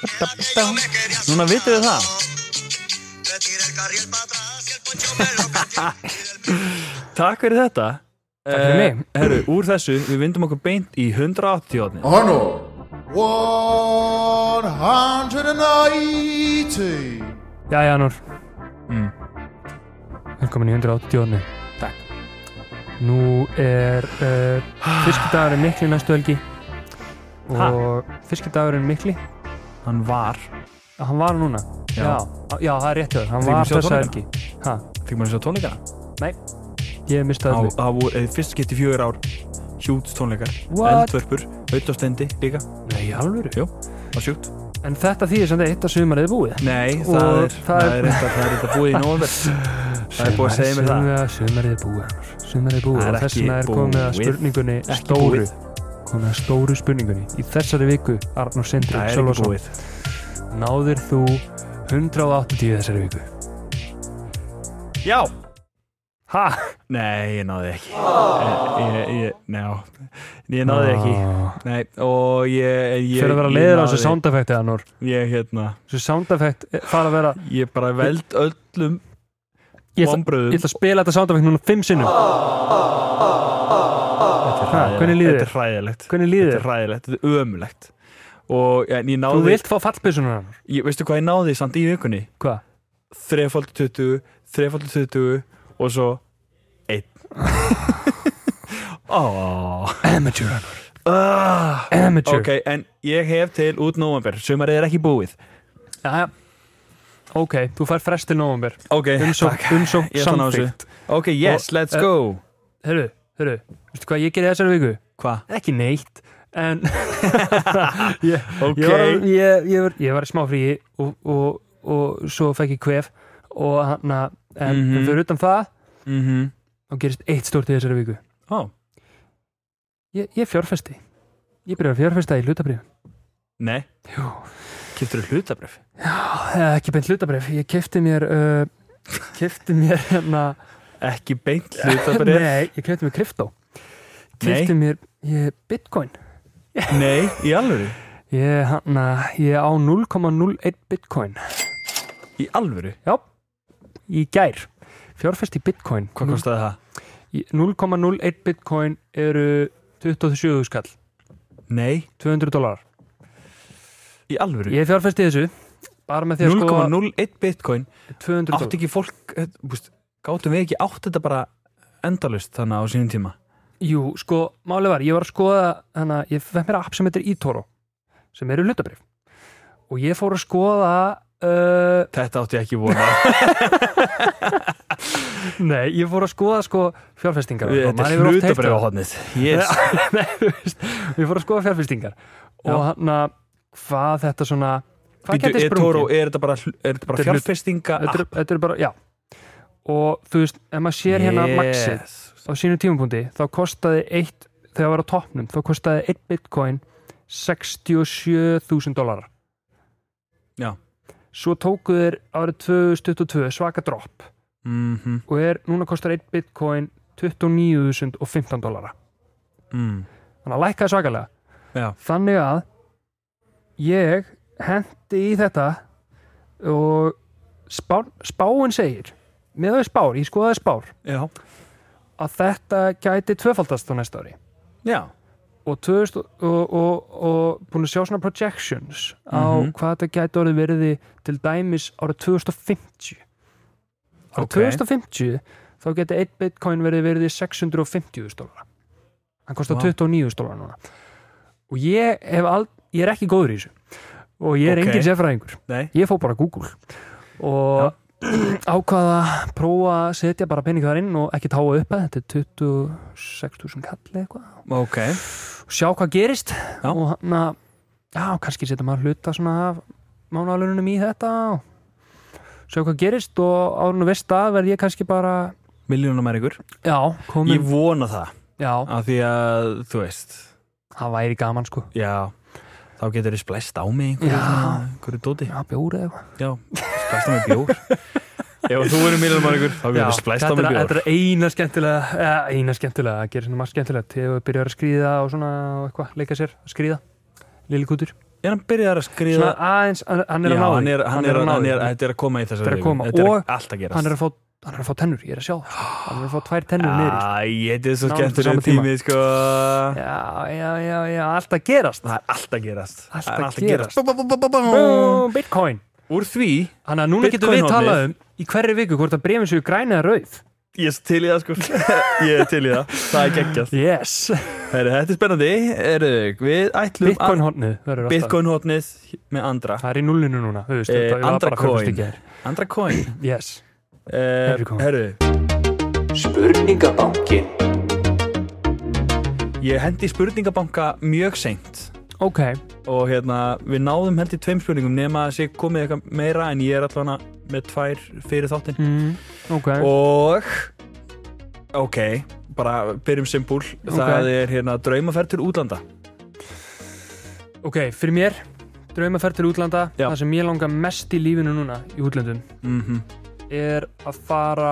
Speaker 1: Núna vitið þið það
Speaker 4: Le tiré el carril para atrás y el poncho me lo cayó. Y del
Speaker 1: Takk fyrir þetta Takk
Speaker 2: fyrir mig.
Speaker 1: Eh, Herru, úr þessu, við vindum okkur beint í 180 hodni
Speaker 2: Oh.
Speaker 5: Honor 180.
Speaker 2: Já, Janur.
Speaker 1: Mm.
Speaker 2: Velkomin í 180.
Speaker 1: Takk.
Speaker 2: Nú er uh, fiskidagurinn mikli næstu helgi
Speaker 1: Ha?
Speaker 2: og fiskidagurinn mikli,
Speaker 1: Hann var
Speaker 2: hann var núna.
Speaker 1: Já.
Speaker 2: Já, já, það er rétt hjá þér, hann
Speaker 1: Fengum
Speaker 2: var
Speaker 1: sjá
Speaker 2: þessa helgi.
Speaker 1: tónleikana?
Speaker 2: Ha,
Speaker 1: Fikk maður að sjá tónleikana?
Speaker 2: nei, ég mistaði
Speaker 1: Á-
Speaker 2: allir.
Speaker 1: Það voru eh, fyrst skipt í fjögur ár Hjúts tónleikar
Speaker 2: What?
Speaker 1: Eldvörpur Auðastendi líka
Speaker 2: Nei, alveg.
Speaker 1: Jú, það er sjúkt
Speaker 2: En þetta þýðir sem þetta eitt að sumarið er búið.
Speaker 1: Nei,
Speaker 2: Og
Speaker 1: það er
Speaker 2: það
Speaker 1: Það
Speaker 2: er-
Speaker 1: er þetta það er þetta búið í nóvember Það er búið að segja mér það
Speaker 2: Sumar- Sumarið er búið, Janur. Sumarið er búið
Speaker 1: Það er
Speaker 2: og þess
Speaker 1: ekki
Speaker 2: vegna er komið að
Speaker 1: búið.
Speaker 2: spurningunni
Speaker 1: Ekki
Speaker 2: stóru.
Speaker 1: búið.
Speaker 2: Komið að stóru spurningunni. Í þessari viku, Arnur Sindri,
Speaker 1: Það er ekki
Speaker 2: Sölvason,
Speaker 1: búið
Speaker 2: náðir þú 180 þessari viku?
Speaker 1: Já
Speaker 2: Ha?
Speaker 1: Nei, ég náði ekki Ég, ég, ég, njá, ég náði ekki Nei, og ég, ég
Speaker 2: Fyrir að vera
Speaker 1: ég
Speaker 2: leiður á þessu
Speaker 1: náði-
Speaker 2: soundeffekti, Arnur.
Speaker 1: Ég hérna
Speaker 2: Þessu soundeffekt fara að vera...
Speaker 1: Ég bara veld öllum
Speaker 2: Ég ætla,
Speaker 1: Vombröðum
Speaker 2: ég ætla að spila þetta soundeffekt núna fimm sinnum. Ha, hvernig líður
Speaker 1: Þetta
Speaker 2: þér?
Speaker 1: er hræðilegt
Speaker 2: Hvernig
Speaker 1: Þetta
Speaker 2: líður
Speaker 1: er
Speaker 2: þér?
Speaker 1: hræðilegt, þetta er ömulegt Og en ég
Speaker 2: Þú
Speaker 1: náði
Speaker 2: vilt fá fallbissunar, Arnur.
Speaker 1: ég, Veistu hvað ég náði samt í vikunni?
Speaker 2: Hvað?
Speaker 1: 3x20, 3x20 Og svo 1 oh.
Speaker 2: Amateur, Arnur.
Speaker 1: uh,
Speaker 2: Amateur.
Speaker 1: Ok, en ég hef til út nóvember Sumarið er ekki búið
Speaker 2: Jæja. Ok, þú fær frest til nóvumber.
Speaker 1: Ok,
Speaker 2: Umsókn,
Speaker 1: takk.
Speaker 2: umsókn
Speaker 1: Ég ætla að ná þessu.
Speaker 2: samþygt.
Speaker 1: Um Ok, yes,
Speaker 2: Og,
Speaker 1: let's
Speaker 2: eh,
Speaker 1: go
Speaker 2: Hörru, hörru, veistu hvað ég gerði þessari viku?
Speaker 1: Hva?
Speaker 2: Ekki neitt, en ég,
Speaker 1: Ok.
Speaker 2: ég, var, ég, ég, var, ég var í smá fríi og, og, og svo fekk ég kvef og hann að, en mm
Speaker 1: Mhm.
Speaker 2: fyrir utan það,
Speaker 1: Mm -hmm.
Speaker 2: þá gerist eitt stórt í þessari viku.
Speaker 1: Ó,
Speaker 2: Ég, ég fjárfesti. Ég byrjaði að fjárfesta í hlutabrif.
Speaker 1: nei
Speaker 2: Jú.
Speaker 1: Kiptur hlutabrif
Speaker 2: Eh, Ekki beint hlutabrif, ég kefti mér, uh, kefti mér hérna,
Speaker 1: Ekki beint hlutabrif
Speaker 2: nei, ég kefti mér kryptó.
Speaker 1: Nei.
Speaker 2: Kefti mér, ég, bitcoin.
Speaker 1: Nei, í alvöru
Speaker 2: Ég, hana, ég á 0,01 bitcoin
Speaker 1: Í alvöru
Speaker 2: Já, í gær Fjárfest í bitcoin
Speaker 1: Hvað kostaði það?
Speaker 2: Í- 0,01 bitcoin eru 27 skall
Speaker 1: Nei,
Speaker 2: 200 dólar
Speaker 1: í alvöru
Speaker 2: Ég fjárfest í þessu Bara með því að sko
Speaker 1: 0,01 bitcoin
Speaker 2: 200
Speaker 1: Átt
Speaker 2: dólar
Speaker 1: ekki fólk eh, búst, Gátum við ekki átt þetta bara endalust þannig á sínum tíma
Speaker 2: Jú, sko, málið var, ég var að skoða hana, Ég fætt mér app sem heitir eToro Sem eru hlutabrif Og ég fór að skoða uh,
Speaker 1: Þetta átti ég ekki vona
Speaker 2: Nei, ég fór að skoða sko fjárfestingar Og
Speaker 1: Þetta
Speaker 2: maður
Speaker 1: er
Speaker 2: hefur oft heyrt
Speaker 1: hlutabrif á
Speaker 2: það.
Speaker 1: hodnið Yes
Speaker 2: Nei, þú veist, við fórum að skoða fjárfestingar og hann að hvað þetta svona hvað
Speaker 1: Býtu,
Speaker 2: geti
Speaker 1: er, Tóró,
Speaker 2: sprungið
Speaker 1: er þetta bara, hl- er þetta bara
Speaker 2: Þetta er hlut-
Speaker 1: fjárfestinga
Speaker 2: þetta, er- þetta er bara, já og þú veist, ef maður sér
Speaker 1: Ah,
Speaker 2: hérna maxið á sínu tímapunkti, þá kostaði eitt, þegar það var á toppnum, þá kostaði eitt bitcoin 67.000 dólarar
Speaker 1: Já.
Speaker 2: svo tóku þeir árið 2022 svaka dropp
Speaker 1: mm -hmm.
Speaker 2: og er, núna kostar eitt bitcoin 29.015 dollara
Speaker 1: mm.
Speaker 2: þannig að lækkaði svakalega
Speaker 1: Já.
Speaker 2: þannig að ég hendi í þetta og spá, spáin segir með þau spár, ég skoðaði spár
Speaker 1: Já.
Speaker 2: að þetta gæti tvöfaldast á næsta ári
Speaker 1: Já.
Speaker 2: og, 2000 og, og, og, og búin að sjá svona projections á
Speaker 1: Mhm.
Speaker 2: hvað þetta gæti orðið verið til dæmis árið 2050 árið
Speaker 1: Ok.
Speaker 2: 2050 þá geti 1 bitcoin verið verið í 650.000 dólar hann kostar
Speaker 1: Vá.
Speaker 2: 29.000 dólar núna og ég hef all, ég er ekki góður í þessu og ég er
Speaker 1: Ok.
Speaker 2: engin sérfræðingur
Speaker 1: Nei.
Speaker 2: ég fór bara að Google og ákvaða að prófa að setja bara pening þar inn og ekki táa upp að þetta er 26.000 kalli eitthvað
Speaker 1: Ok.
Speaker 2: og sjá hvað gerist
Speaker 1: Já.
Speaker 2: og hann að já, kannski setja maður hluta svona af mánaðalunum í þetta og sjá hvað gerist og árun og veist að verð ég kannski bara
Speaker 1: Miljónum er ykkur.
Speaker 2: já,
Speaker 1: Ég
Speaker 2: komin
Speaker 1: vona það.
Speaker 2: já,
Speaker 1: Af því að, þú veist,
Speaker 2: það væri gaman sko
Speaker 1: já, þá getur þið splæst á mig einhverju,
Speaker 2: Já.
Speaker 1: svona, einhverju dóti.
Speaker 2: já, bjóri eða eitthvað
Speaker 1: Já. Splæst á mig bjór. Ef þú verður miljónum er ykkur, þá getur
Speaker 2: Já,
Speaker 1: þið splæst á
Speaker 2: þetta
Speaker 1: mig
Speaker 2: er-
Speaker 1: bjór.
Speaker 2: þetta er eina skemmtilega eh, eina skemmtilega, það gerir svona margt skemmtilegt þegar við byrjar að skríða og svona og eitthvað, leika sér að skríða Lillikutur,
Speaker 1: Er hann byrjar að skriða?
Speaker 2: svona aðeins, hann hann er
Speaker 1: Já,
Speaker 2: að ná
Speaker 1: hann
Speaker 2: því.
Speaker 1: er, hann er,
Speaker 2: að ná
Speaker 1: hann er,
Speaker 2: því.
Speaker 1: þetta er að koma í þessari
Speaker 2: Þetta er að
Speaker 1: viku.
Speaker 2: koma.
Speaker 1: Þetta
Speaker 2: Og
Speaker 1: er allt að gerast
Speaker 2: hann er að fá hann er að fá tennur, ég er að sjá það hann er að fá tvær tennur niður sko. í.
Speaker 1: Æ, þetta er svo
Speaker 2: Nánast á
Speaker 1: skemmtilega
Speaker 2: sama tíma.
Speaker 1: tími sko.
Speaker 2: já, já, já, já, allt að gerast
Speaker 1: Það er allt að gerast
Speaker 2: Allt
Speaker 1: Það er
Speaker 2: að
Speaker 1: Bú, bú, bú, bú, bú, bú.
Speaker 2: Bú, Bitcoin
Speaker 1: Úr því,
Speaker 2: Þannig að núna getum við
Speaker 1: Bitcoin-hornið.
Speaker 2: talað um í hverri viku hvort að brefin séu græna eða rauð
Speaker 1: ég er til í það sko Ég er til í það, það er geggjast
Speaker 2: Yes
Speaker 1: Heru, Þetta er spennandi, Heru, við ætlum
Speaker 2: Bitcoin hornið verður
Speaker 1: að
Speaker 2: alltaf
Speaker 1: Bitcoin hotnið með Andra
Speaker 2: Það er í nullinu núna þú veist,
Speaker 1: Eh,
Speaker 2: þetta var
Speaker 1: Andra
Speaker 2: bara fyrsta
Speaker 1: coin.
Speaker 2: stykki.
Speaker 1: Andra coin
Speaker 2: Yes
Speaker 1: Eh,
Speaker 2: Here we go.
Speaker 1: Heru,
Speaker 2: Spurningabankin
Speaker 1: ég hendi spurningabanka mjög seint
Speaker 2: Ok,
Speaker 1: og hérna, við náðum held í tveim spurningum nema að sé komið eitthvað meira en ég er allan með tvær fyrir þáttinn
Speaker 2: mm, ok
Speaker 1: og ok, bara byrjum simpúl það er hérna draumaferð til útlanda
Speaker 2: Ok, fyrir mér draumaferð til útlanda
Speaker 1: Já.
Speaker 2: Það sem ég langar mest í lífinu núna í útlandum
Speaker 1: mm
Speaker 2: er að fara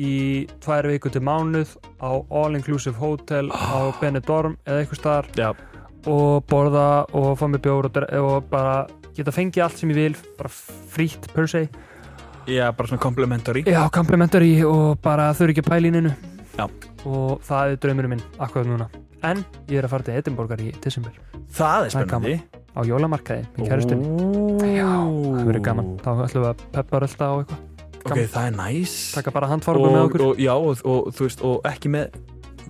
Speaker 2: í tvær viku til mánuð á all-inclusive hotel á
Speaker 1: Ah.
Speaker 2: Benidorm eða eitthvað staðar
Speaker 1: já,
Speaker 2: og borða og fá mér bjór og, dre- og bara geta fengið allt sem ég vil bara frítt per se
Speaker 1: já, bara svona komplementari
Speaker 2: já, complimentary og bara þau eru ekki að pæla í neinu
Speaker 1: Já.
Speaker 2: og það er draumurinn minn akkurat núna en ég er að fara til Edinborgar í desember
Speaker 1: það er
Speaker 2: Það er
Speaker 1: spennandi
Speaker 2: á jólamarkaði með kærustinni
Speaker 1: já,
Speaker 2: það verður gaman, þá ætlum við að peppa rölda og eitthvað
Speaker 1: ok,
Speaker 2: gaman.
Speaker 1: það er næs
Speaker 2: taka bara handfarma með
Speaker 1: og,
Speaker 2: okkur
Speaker 1: og, já, og, og þú veist, og ekki með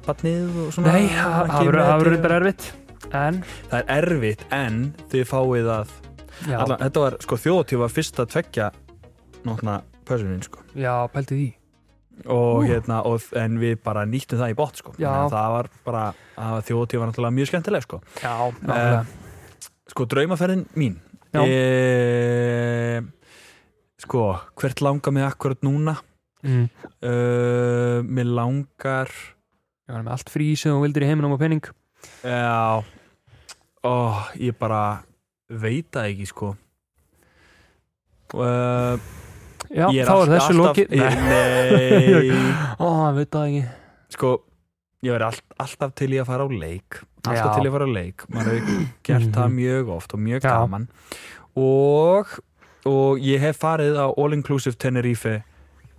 Speaker 1: batnið og svona
Speaker 2: nei, það
Speaker 1: Ekki
Speaker 2: það verður
Speaker 1: með
Speaker 2: það verður
Speaker 1: þetta.
Speaker 2: bara erfitt en,
Speaker 1: það er erfitt en þið fáið að
Speaker 2: já,
Speaker 1: allan, þetta var sko þjóðtíð var fyrst að tvekja náttúrulega pössunin sko
Speaker 2: já pældi því
Speaker 1: og hérna, og, en við bara nýttum það í bótt sko,
Speaker 2: Já.
Speaker 1: Þannig að það var bara þjóðtíð var náttúrulega mjög skemmtileg sko
Speaker 2: já, Eh. náttúrulega
Speaker 1: sko draumaferðin mín
Speaker 2: Já.
Speaker 1: e, sko hvert langar mig akkurat núna
Speaker 2: mm.
Speaker 1: e, mér langar
Speaker 2: ég var með allt frí sem þú vildir í heiminum og penning
Speaker 1: já ó, ég bara veit það ekki sko e,
Speaker 2: já, þá er þessu lokið
Speaker 1: ég, nei,
Speaker 2: Ó, hann veit það ekki
Speaker 1: sko ég verði all, alltaf til í að fara á leik alltaf
Speaker 2: Já.
Speaker 1: til í að fara á leik maður hefur gert það
Speaker 2: Mhm.
Speaker 1: mjög oft og mjög
Speaker 2: Já.
Speaker 1: gaman og, og ég hef farið á All Inclusive Tenerife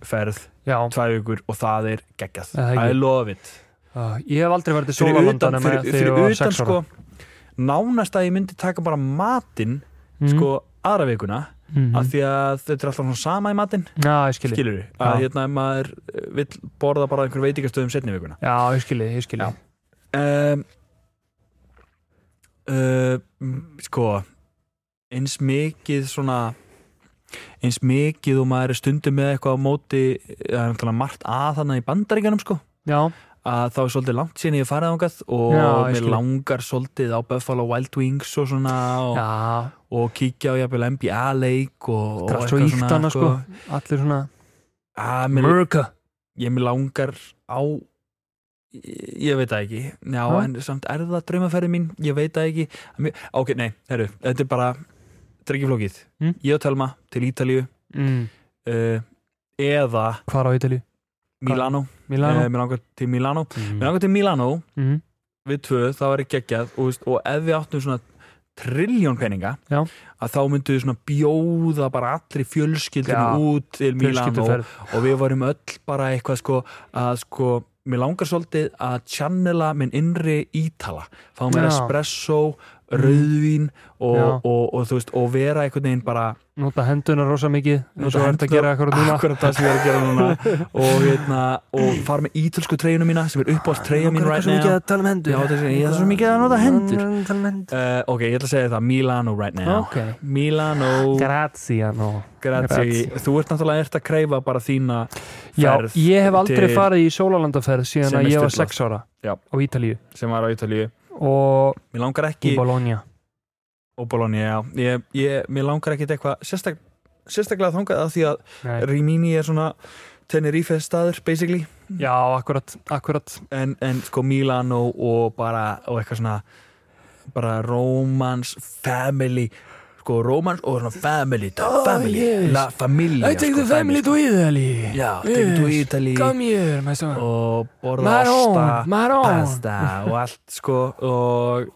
Speaker 1: ferð
Speaker 2: Já,
Speaker 1: tvær vikur og það er geggjast
Speaker 2: Það er
Speaker 1: I
Speaker 2: ekki.
Speaker 1: love it
Speaker 2: uh, ég hef aldrei verið til
Speaker 1: fyrir utan,
Speaker 2: sólalandanum
Speaker 1: fyrir,
Speaker 2: þegar ég
Speaker 1: fyrir
Speaker 2: var
Speaker 1: utan
Speaker 2: sex ára
Speaker 1: sko nánast að ég myndi taka bara matinn
Speaker 2: Mm,
Speaker 1: sko aðra vikuna
Speaker 2: mm,
Speaker 1: af því að þetta er alltaf svona sama í matinn
Speaker 2: Já, ég skilji
Speaker 1: skilur við að
Speaker 2: Já.
Speaker 1: hérna ef maður vill borða bara á einhverjum veitingastöðum setni vikuna
Speaker 2: Já, ég skilji, ég skilji
Speaker 1: Já. um, uh, sko eins mikið svona eins mikið og maður er stundum með eitthvað á móti eh, það er náttúrulega margt að þannig í bandaríkanum sko
Speaker 2: Já,
Speaker 1: að þá er svolítið langt síðan ég hef farið ángað og
Speaker 2: Já, ég
Speaker 1: mér
Speaker 2: skil.
Speaker 1: langar svolítið á Buffalo Wild Wings og svona og,
Speaker 2: já,
Speaker 1: og kíkja á jafnvel NBA leik og, og
Speaker 2: þetta er allt svo íkt annað sko Allir svona
Speaker 1: að Ah, mér
Speaker 2: America
Speaker 1: ég mig langar á ég ég veit það ekki já,
Speaker 2: Ha?
Speaker 1: en samt er það draumaferði mín ég veit það ekki Mér- ok, nei, heru, þetta er bara þetta er ekki flókið
Speaker 2: Mm.
Speaker 1: ég og Telma til Ítalíu
Speaker 2: mm,
Speaker 1: uh, eh, eða
Speaker 2: Hvar á Ítali
Speaker 1: Milano,
Speaker 2: Milano.
Speaker 1: Eh, mér langar til Milano
Speaker 2: Mm.
Speaker 1: mér langar til Milano,
Speaker 2: Mm.
Speaker 1: við tvö þá er ég geggjað og, veist, og ef við áttum svona trilljón peninga
Speaker 2: Já.
Speaker 1: að þá myndu við svona bjóða bara allri
Speaker 2: Já.
Speaker 1: fjölskyldinu út til Milano
Speaker 2: Fjölskylduferð.
Speaker 1: og við vorum öll bara eitthvað sko að sko mér langar svolítið að channela minn innri ítala, fá mér
Speaker 2: Já.
Speaker 1: espresso rauðvín og,
Speaker 2: Já.
Speaker 1: og, og, þú veist, og vera einhvern veginn bara
Speaker 2: Nota henduna rosa mikið eins og hægt að gera akkurat núna
Speaker 1: akkurat það sem ég er að gera núna og, hérna, og fara með ítölsku treyjuna mína sem er
Speaker 2: Ah,
Speaker 1: uppáðs treyja mín right now
Speaker 2: að tala um hendur
Speaker 1: Já, þessi- ég er svo mikið að nota hendur.
Speaker 2: Tala um hendur
Speaker 1: Uh, ok, ég ætla að segja það, Milano right now
Speaker 2: Ok,
Speaker 1: Milano,
Speaker 2: graziano
Speaker 1: grazie Þú ert náttúrulega ert að kreifa bara þína
Speaker 2: Já,
Speaker 1: ferð
Speaker 2: ég hef aldrei
Speaker 1: til-
Speaker 2: farið í sólalandaferð síðan
Speaker 1: Sem
Speaker 2: að
Speaker 1: er
Speaker 2: ég var
Speaker 1: sturlað.
Speaker 2: 6 ára
Speaker 1: Já.
Speaker 2: á Ítalíu
Speaker 1: sem var á Ítalíu
Speaker 2: og
Speaker 1: Mér langar
Speaker 2: í
Speaker 1: ekki,
Speaker 2: Bologna
Speaker 1: og Bologna, já ég, ég, Mér langar ekki eitthvað sérstak, sérstaklega þangað að því að
Speaker 2: Nei.
Speaker 1: Rimini er svona Tenerife staður, basically
Speaker 2: Já, akkurat, akkurat
Speaker 1: en, en sko Milano og bara og eitthvað svona bara romance, family sko romance og svona family the family,
Speaker 2: Oh, yes.
Speaker 1: la familia sko,
Speaker 2: to Italy
Speaker 1: Já, take to Italy
Speaker 2: here, my son
Speaker 1: og borða osta
Speaker 2: Marón, Marón
Speaker 1: pasta og allt sko og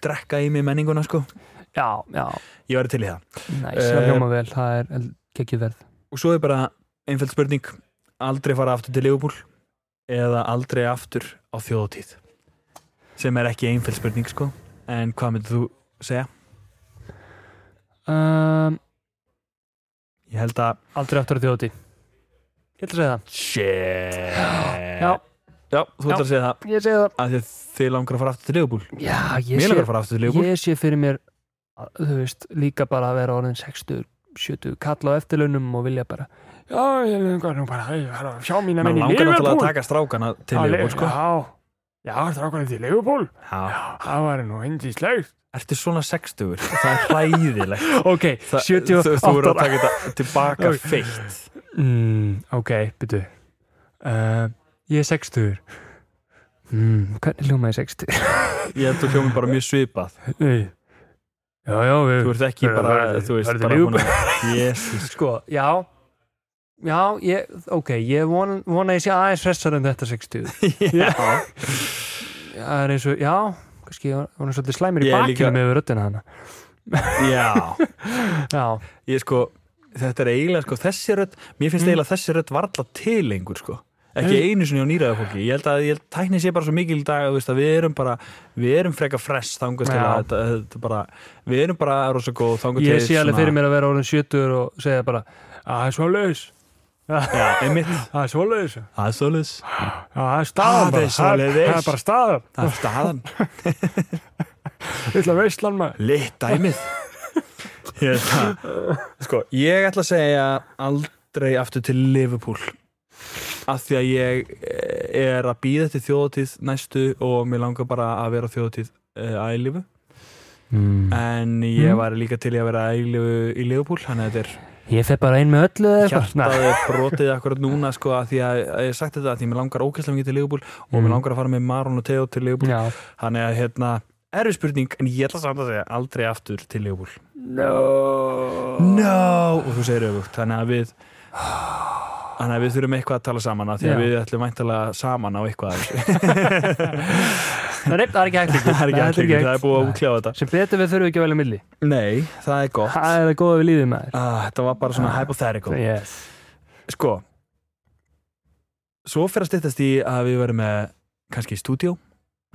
Speaker 1: drekka í mig menninguna sko
Speaker 2: Já, já,
Speaker 1: ég væri til í það
Speaker 2: næs, það
Speaker 1: Eh,
Speaker 2: hljóma vel Það er gekkið verð
Speaker 1: og svo er bara einfæld spurning aldrei fara aftur til Liverpool eða aldrei aftur á þjóðatíð sem er ekki einfæld spurning sko en hvað myndir þú segja?
Speaker 2: um,
Speaker 1: Ég held að
Speaker 2: Aldrei aftur að þjóti Ég ætla að segja það
Speaker 1: shit
Speaker 2: Já,
Speaker 1: Já, þú ætlar að segja það
Speaker 2: ég segja það
Speaker 1: af því að þið langar að fara aftur til Liverpool
Speaker 2: Já, ég
Speaker 1: Mér
Speaker 2: sé
Speaker 1: langar að fara aftur til Liverpool
Speaker 2: ég sé fyrir mér að, þú veist, líka bara að vera orðin 60, 70 kalla á eftirlaunum og vilja bara já, ég langar nú bara ég þarf að sjá mína
Speaker 1: Mér
Speaker 2: menn í
Speaker 1: langar náttúrulega að
Speaker 2: Liverpool
Speaker 1: taka strákana til
Speaker 2: Já,
Speaker 1: Liverpool sko
Speaker 2: já, já, strákunum til Liverpool
Speaker 1: Já.
Speaker 2: það var nú indislegt
Speaker 1: Ertu svona 60 Það er hræðilegt
Speaker 2: ok,
Speaker 1: Þa, þú,
Speaker 2: 78
Speaker 1: þú verður að taka þetta tilbaka
Speaker 2: Ok.
Speaker 1: feitt
Speaker 2: mm, ok, byrju uh, ég er 60 mm, hvernig hljóma ég 60
Speaker 1: Ég held að þú hljómi bara mjög svipað
Speaker 2: Nei. já, já, við
Speaker 1: Þú ert ekki
Speaker 2: Verður-
Speaker 1: bara
Speaker 2: verður-
Speaker 1: Þú veist
Speaker 2: verður
Speaker 1: bara
Speaker 2: ljúf.
Speaker 1: búin að- Jesus.
Speaker 2: Sko, já Já, ég, ok, ég von, vona að ég sé aðeins hressar en þetta 60
Speaker 1: Já.
Speaker 2: Það er eins og, já, kannski ég var- var nú svolítið slæmir í
Speaker 1: Ég er líka-
Speaker 2: bakkinum yfir röddina hana
Speaker 1: Já
Speaker 2: Já,
Speaker 1: Ég sko Þetta er eiginlega sko þessi rödd Mér finnst eiginlega þessi rödd varla til lengur sko Ekki einu sinni á nýraðu fólki Ég held að ég held, tækni sé bara svo mikil í dag þú veist, að Við erum bara Við erum freka fress þangur til
Speaker 2: Já.
Speaker 1: að þetta, þetta bara, Við erum bara rosa góð þangur
Speaker 2: ég
Speaker 1: til
Speaker 2: sé alveg fyrir mér að vera orðin 70 og segja bara Það er svo laus,
Speaker 1: Já, einmitt
Speaker 2: það er svo laus Já,
Speaker 1: Það er svolítið
Speaker 2: það er
Speaker 1: Ah,
Speaker 2: staðan
Speaker 1: það
Speaker 2: bara
Speaker 1: er svoleiðis.
Speaker 2: Það er bara staðan,
Speaker 1: Það er staðan
Speaker 2: ég ætla að veistlan maður
Speaker 1: Litt dæmið hérna. Sko, ég ætla að segja aldrei aftur til Liverpool af því að ég eh, er að býða til þjóðatíð næstu og mér langar bara að vera á þjóðatíð eh, að eilífu
Speaker 2: mm.
Speaker 1: en ég var líka til í að vera að eilífu í Liverpool þannig að þetta er
Speaker 2: Ég fer bara einn með öllu eða eitthvað Nei.
Speaker 1: hjartaði brotið akkurat núna sko að því að að ég hef sagt þetta að því að mér langar ókesslega mikið til Liverpool og mér langar að fara með Maron og Teo til Liverpool
Speaker 2: Mm. Já,
Speaker 1: þannig að hérna erfið spurning en ég ætla samt að segja aldrei aftur til Liverpool
Speaker 2: no
Speaker 1: no! og þú segir öfugt þannig að við þannig að við þurfum eitthvað að tala saman að því að
Speaker 2: Já.
Speaker 1: við ætlum væntalega saman á eitthvað af þessu.
Speaker 2: Nei, það er ekki hægt
Speaker 1: það er ekki allir ekki, það er búið að
Speaker 2: Nei.
Speaker 1: útkljá þetta
Speaker 2: Sem betur við þurfum ekki að velja milli
Speaker 1: nei, það er gott
Speaker 2: Það er það góða við líðum maður
Speaker 1: ah, þetta var bara svona hypothetical
Speaker 2: yes.
Speaker 1: sko svo fyrir að styttast í að við verum með kannski í stúdíó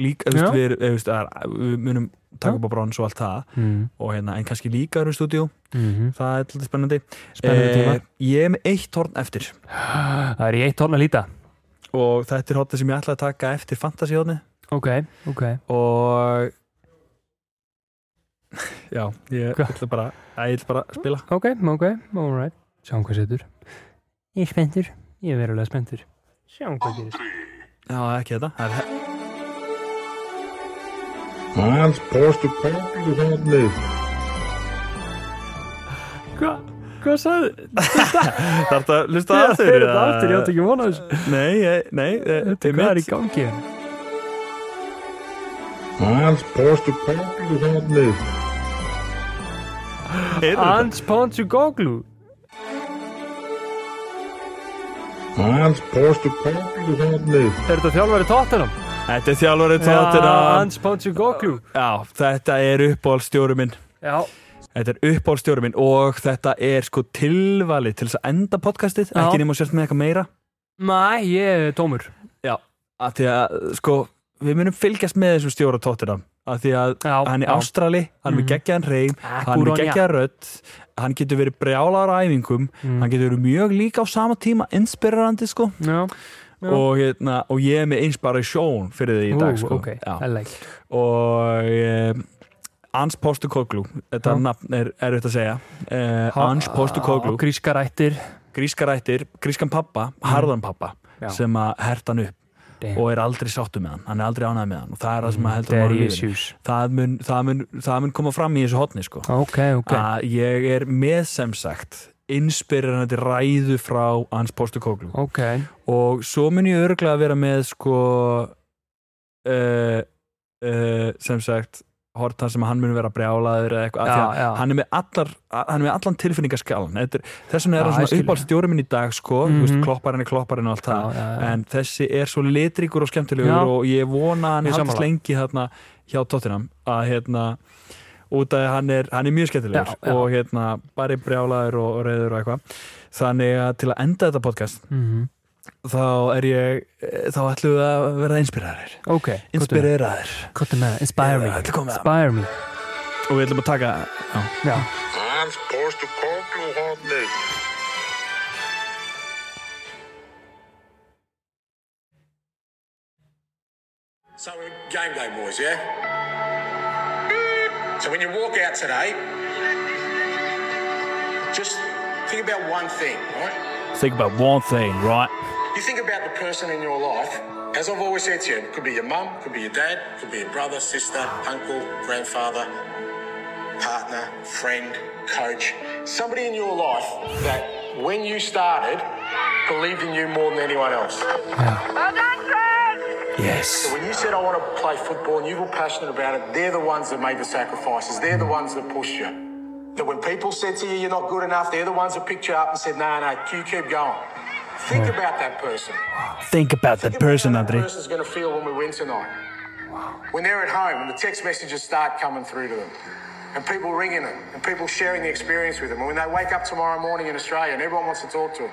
Speaker 1: líka, þú veist,
Speaker 2: Já.
Speaker 1: við, við, við, að, við munum taka upp á brons og allt það
Speaker 2: mm.
Speaker 1: og hérna, en kannski líka erum við í stúdíó
Speaker 2: Mm
Speaker 1: það er alltaf spennandi
Speaker 2: Spennandi tíma
Speaker 1: Eh, ég er með eitt horn eftir
Speaker 2: Það er í eitt horn að líta
Speaker 1: og þetta er hotni sem ég ætla að taka eftir fantasíhotni
Speaker 2: Ok, ok
Speaker 1: og já, ég
Speaker 2: Hva?
Speaker 1: ætla bara að ég ætla bara að spila
Speaker 2: Ok, ok, alright Sjáum hvað setur Ég er spenntur, ég er verulega spenntur Sjáum hvað gerir
Speaker 1: já, ekki þetta, það er
Speaker 3: Hans postur poplu hodnið.
Speaker 2: Hva, hvað sagði?
Speaker 1: þarf að lusta
Speaker 2: Það er þetta aftur, ég átti ekki vona þessu
Speaker 1: nei, ég- nei, eh,
Speaker 2: Þetta
Speaker 1: þetta
Speaker 2: hvað er í gangi hérna?
Speaker 3: Hans postur poplu hodnið.
Speaker 1: er
Speaker 2: Hans Ponsu Goglu
Speaker 5: Hans Postecoglou þarna.
Speaker 2: Er þetta þjálfari Tottenham?
Speaker 1: Þetta er þjálfarið tóttina
Speaker 2: Hans Postecoglou.
Speaker 1: Já, þetta er uppáhaldstjóri minn
Speaker 2: Já,
Speaker 1: Þetta er uppáhaldstjóri minn og þetta er sko tilvalið til þess að enda podcastið
Speaker 2: Já.
Speaker 1: ekki nema sérst með eitthvað meira
Speaker 2: næ, ég er tómur.
Speaker 1: Já, að því að sko við munum fylgjast með þessum stjóra tóttina að því að
Speaker 2: Já,
Speaker 1: hann er
Speaker 2: já.
Speaker 1: ástrali hann er með
Speaker 2: Mhm.
Speaker 1: geggjaðan reym, hann er með geggjaðan rödd hann getur verið brjálar á æfingum
Speaker 2: Mm.
Speaker 1: hann getur verið mjög líka á sama tíma inspirerandi sko
Speaker 2: Já, Já.
Speaker 1: og, hérna, og ég er með inspiration fyrir því í dag
Speaker 2: Ú,
Speaker 1: sko.
Speaker 2: ok,
Speaker 1: Já.
Speaker 2: I like it.
Speaker 1: og eh, Ans Postukoglu þetta
Speaker 2: Já.
Speaker 1: nafn er erfitt að segja eh, Ans Postukoglu,
Speaker 2: Gríska rættir.
Speaker 1: grískarættir grískan pappa, harðan pappa
Speaker 2: Mhm. Já.
Speaker 1: sem að herta hann upp
Speaker 2: Damn. Mm,
Speaker 1: og er aldrei sáttu með hann, hann er aldrei ánægð með hann og það er það sem að heldur hann á
Speaker 2: Daddy
Speaker 1: lífinu
Speaker 2: issues.
Speaker 1: það mun, það, mun, það mun koma fram í þessu hotni sko.
Speaker 2: Ok, ok.
Speaker 1: að ég er með sem sagt inspirerandi ræðu frá Ans Postukoglu
Speaker 2: Ok,
Speaker 1: og svo mun ég örglega að vera með sko uh, uh, sem sagt hort hann sem hann mun vera brjálaður eða eitthvað, af því að
Speaker 2: já, já.
Speaker 1: hann er með, allar, hann er með allan tilfinningaskalan Þetta er- þess vegna
Speaker 2: Já,
Speaker 1: er hann
Speaker 2: ég skil.
Speaker 1: svona uppáldstjóri minn í dag sko, mm
Speaker 2: Mhm.
Speaker 1: -hmm. klopparinn er klopparinn og allt það
Speaker 2: já, já, já.
Speaker 1: en þessi er svo litrikur og skemmtilegur
Speaker 2: Já.
Speaker 1: og ég vona að hann
Speaker 2: Ég er
Speaker 1: haldist
Speaker 2: sammála.
Speaker 1: lengi þarna hjá Tottenham að hérna út að hann er, hann er mjög skemmtilegur
Speaker 2: Já, já.
Speaker 1: og hérna bara brjálaður og, og reyður og eitthvað þannig að til að enda þetta podcast
Speaker 2: Mhm.
Speaker 1: þá er ég þá ætlum við að vera inspiraðir
Speaker 2: Ok, gott um-
Speaker 1: inspiraðir
Speaker 2: gott um með, það. inspire me,
Speaker 1: Já, þetta kom með.
Speaker 2: inspire me.
Speaker 1: og við ætlum að taka já.
Speaker 2: Já,
Speaker 5: Hans Postecoglou þarna.
Speaker 6: So, game day, boys, yeah? So, when you walk out today, just think about one thing, right?
Speaker 1: think about one thing, right
Speaker 6: You think about the person in your life, as I've always said to you, it could be your mum, could be your dad, could be your brother, sister, uncle, grandfather, partner, friend, coach, somebody in your life that when you started believed in you more than anyone else.
Speaker 1: yes
Speaker 6: When you said, I want to play football and you were passionate about it, they're the ones that made the sacrifices. They're the ones that pushed you. That when people said to you, you're not good enough, they're the ones that picked you up and said, no, no, you keep going. Think about that person.
Speaker 1: think about that
Speaker 6: Think about
Speaker 1: person,
Speaker 6: how that
Speaker 1: Andri
Speaker 6: person's going to feel when we win tonight. When they're at home and the text messages start coming through to them, and people ringing them, and people sharing the experience with them, and when they wake up tomorrow morning in Australia and everyone wants to talk to them,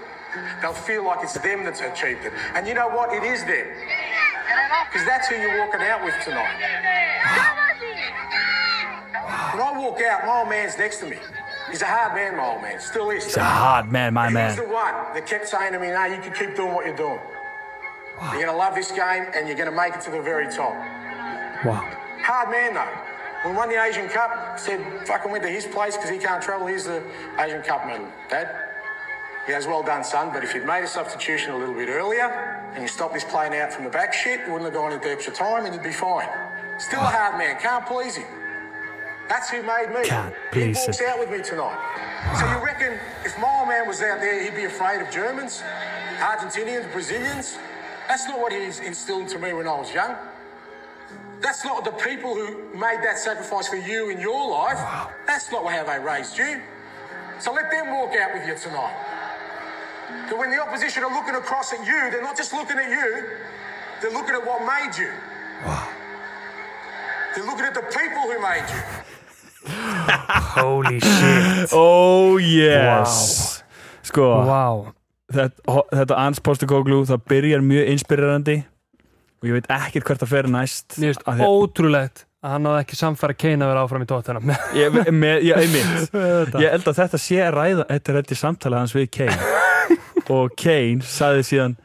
Speaker 6: they'll feel like it's them that's achieved it. And you know what? It is them. Because that's who you're walking out with tonight. When I walk out, my old man's next to me. He's a hard man, my old man. Still is.
Speaker 1: he's a hard man, my
Speaker 6: He's
Speaker 1: man
Speaker 6: the one that kept saying to me, no, you can keep doing what you're doing. You're going to love this game and you're going to make it to the very top.
Speaker 2: wow.
Speaker 6: Hard man, though. We won the Asian Cup, said fucking went to his place because he can't travel. Here's the Asian Cup medal, Dad. He goes, well done, son, but if you'd made a substitution a little bit earlier and you stopped this playing out from the back shit, you wouldn't have gone into extra time and you'd be fine. Still a
Speaker 1: Ah.
Speaker 6: hard man, can't please him. That's who made me.
Speaker 1: Can't
Speaker 6: he
Speaker 1: please
Speaker 6: walks
Speaker 1: him.
Speaker 6: out with me tonight. So you reckon if my old man was out there, he'd be afraid of Germans, Argentinians, Brazilians? That's not what he instilled into me when I was young. That's not the people who made that sacrifice for you in your life. That's not how they raised you. So let them walk out with you tonight. That when the opposition are looking across at you, they're not just looking at you, they're looking at what made you. They're looking at the people who made you.
Speaker 2: Holy shit.
Speaker 1: oh yes sko,
Speaker 2: wow.
Speaker 1: þetta, ho- þetta Ans Postukoglu það byrjar mjög inspirerandi og ég veit ekkert hvert það fer næst
Speaker 2: Mér finnst
Speaker 1: Af því að-
Speaker 2: ótrúlegt að hann náði ekki samfæra Kane að vera áfram í tóttunum.
Speaker 1: ég, með, ég, einmitt.
Speaker 2: Þetta.
Speaker 1: ég held að þetta sé að ræða þetta er þetta samtalið hans við Kane og Kane sagði síðan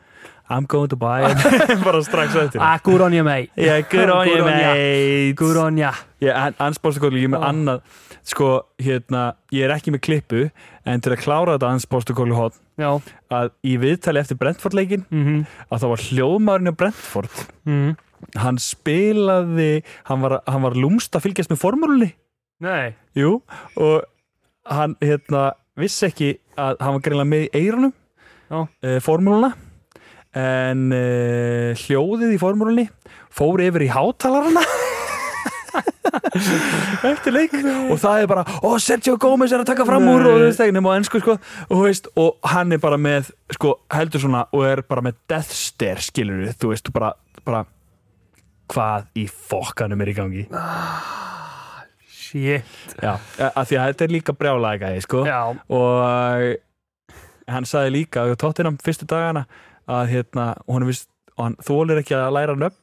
Speaker 1: I'm going to buy it bara strax eftir
Speaker 2: ah, good on you, mate.
Speaker 1: yeah, good on you mate
Speaker 2: Good on Oh. ya.
Speaker 1: yeah, hann- hans bóstakoglu, ég er með annað sko, hérna, ég er ekki með klippu en til að klára þetta hans bóstakoglu hot
Speaker 2: Já.
Speaker 1: að í viðtali eftir Brentford leikin að það var hljóðmaðurinn á Brentford hann spilaði hann var, hann var lúmst að fylgjast með formúlunni
Speaker 2: Nei.
Speaker 1: Jú, og hann hérna vissi ekki að hann var greinlega með í eirunum
Speaker 2: Já.
Speaker 1: e, formúluna en eh, e, hljóðið í formúlunni fór yfir í hátalarana eftir leik og það er bara, ó Sergio Gómez er að taka fram úr og þú veist ekki nema á ennsku sko og, þú veist, og hann er bara með, sko, heldur svona og er bara með death stare skilur við, þú veist, þú bara, bara hvað í fokkanum er í gangi
Speaker 2: Shit
Speaker 1: Já, af því að þetta er líka brjálæga sko.
Speaker 2: Já.
Speaker 1: og hann sagði líka á tóttinam fyrstu dagana að hérna, hún vist og hann þólir ekki að læra nöfn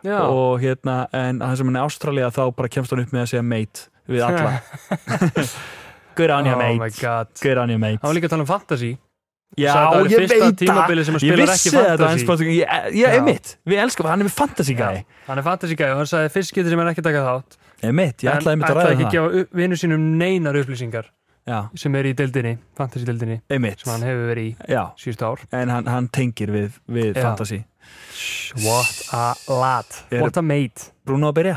Speaker 2: Já,
Speaker 1: og hérna, en hann sem hann er ástralía þá bara kemst hann upp með að segja meit við alla Good on you
Speaker 2: oh my
Speaker 1: mate
Speaker 2: god
Speaker 1: Good on you mate
Speaker 2: Það var líka að tala um fantasy
Speaker 1: Já,
Speaker 2: sagði að það væri
Speaker 1: ég
Speaker 2: fyrsta
Speaker 1: veit
Speaker 2: tímabilið sem
Speaker 1: það
Speaker 2: hann
Speaker 1: Ég
Speaker 2: spilar
Speaker 1: vissi
Speaker 2: ekki
Speaker 1: þetta
Speaker 2: fantasy.
Speaker 1: hans, ég, ég,
Speaker 2: Já.
Speaker 1: einmitt, við elskum hann er með fantasy gæði
Speaker 2: Hann er fantasy gæði og hann sagði fyrst getur sem er ekki að taka þátt
Speaker 1: Einmitt, ég
Speaker 2: en
Speaker 1: ætlaði einmitt að
Speaker 2: ekki
Speaker 1: ræða
Speaker 2: að
Speaker 1: það
Speaker 2: gefa upp- vinum sínum neinar upplýsingar
Speaker 1: Já,
Speaker 2: sem er í deildinni, fantasy deildinni
Speaker 1: einmitt
Speaker 2: sem hann hefur verið í
Speaker 1: Já,
Speaker 2: síðustu ár
Speaker 1: en hann, hann tengir við, við
Speaker 2: Já.
Speaker 1: fantasy
Speaker 2: What a lad,
Speaker 1: Eru-
Speaker 2: what a mate
Speaker 1: Bruno að byrja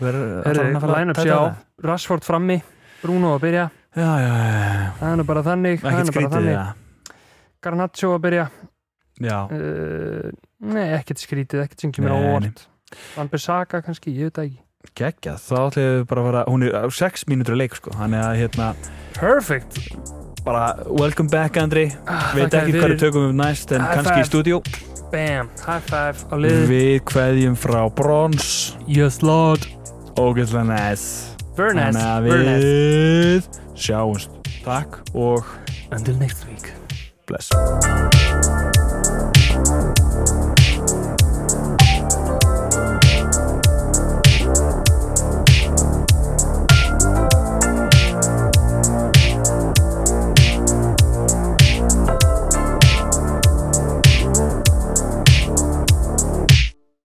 Speaker 2: Herru, line-up
Speaker 1: Line-up
Speaker 2: sé á Rashford frammi, Bruno að byrja
Speaker 1: Já, já, já,
Speaker 2: það er nú bara þannig,
Speaker 1: ekkert
Speaker 2: það er nú bara
Speaker 1: skrítið
Speaker 2: þannig
Speaker 1: já.
Speaker 2: Garnaccio að byrja
Speaker 1: Já,
Speaker 2: uh, Nei, ekkert skrítið, ekkert sem kemur á
Speaker 1: Nei, nei.
Speaker 2: óvart Van Bissaka kannski, ég veit það ekki
Speaker 1: geggjað, þá ætlum við bara að vera hún er á 6 mínútur að leik sko hann er að hérna,
Speaker 2: Perfect
Speaker 1: bara welcome back Andri veit
Speaker 2: þakka
Speaker 1: ekki
Speaker 2: þér
Speaker 1: hvað
Speaker 2: fyrir.
Speaker 1: við tökum um næst en
Speaker 2: High
Speaker 1: kannski
Speaker 2: five.
Speaker 1: í stúdíu
Speaker 2: Bam, high five á liðið
Speaker 1: Við kveðjum frá brons
Speaker 2: Yes lord
Speaker 1: ógeðslega næs
Speaker 2: Vernes,
Speaker 1: Þannig að
Speaker 2: Vernes
Speaker 1: við sjáumst Takk og
Speaker 2: Until next week
Speaker 1: bless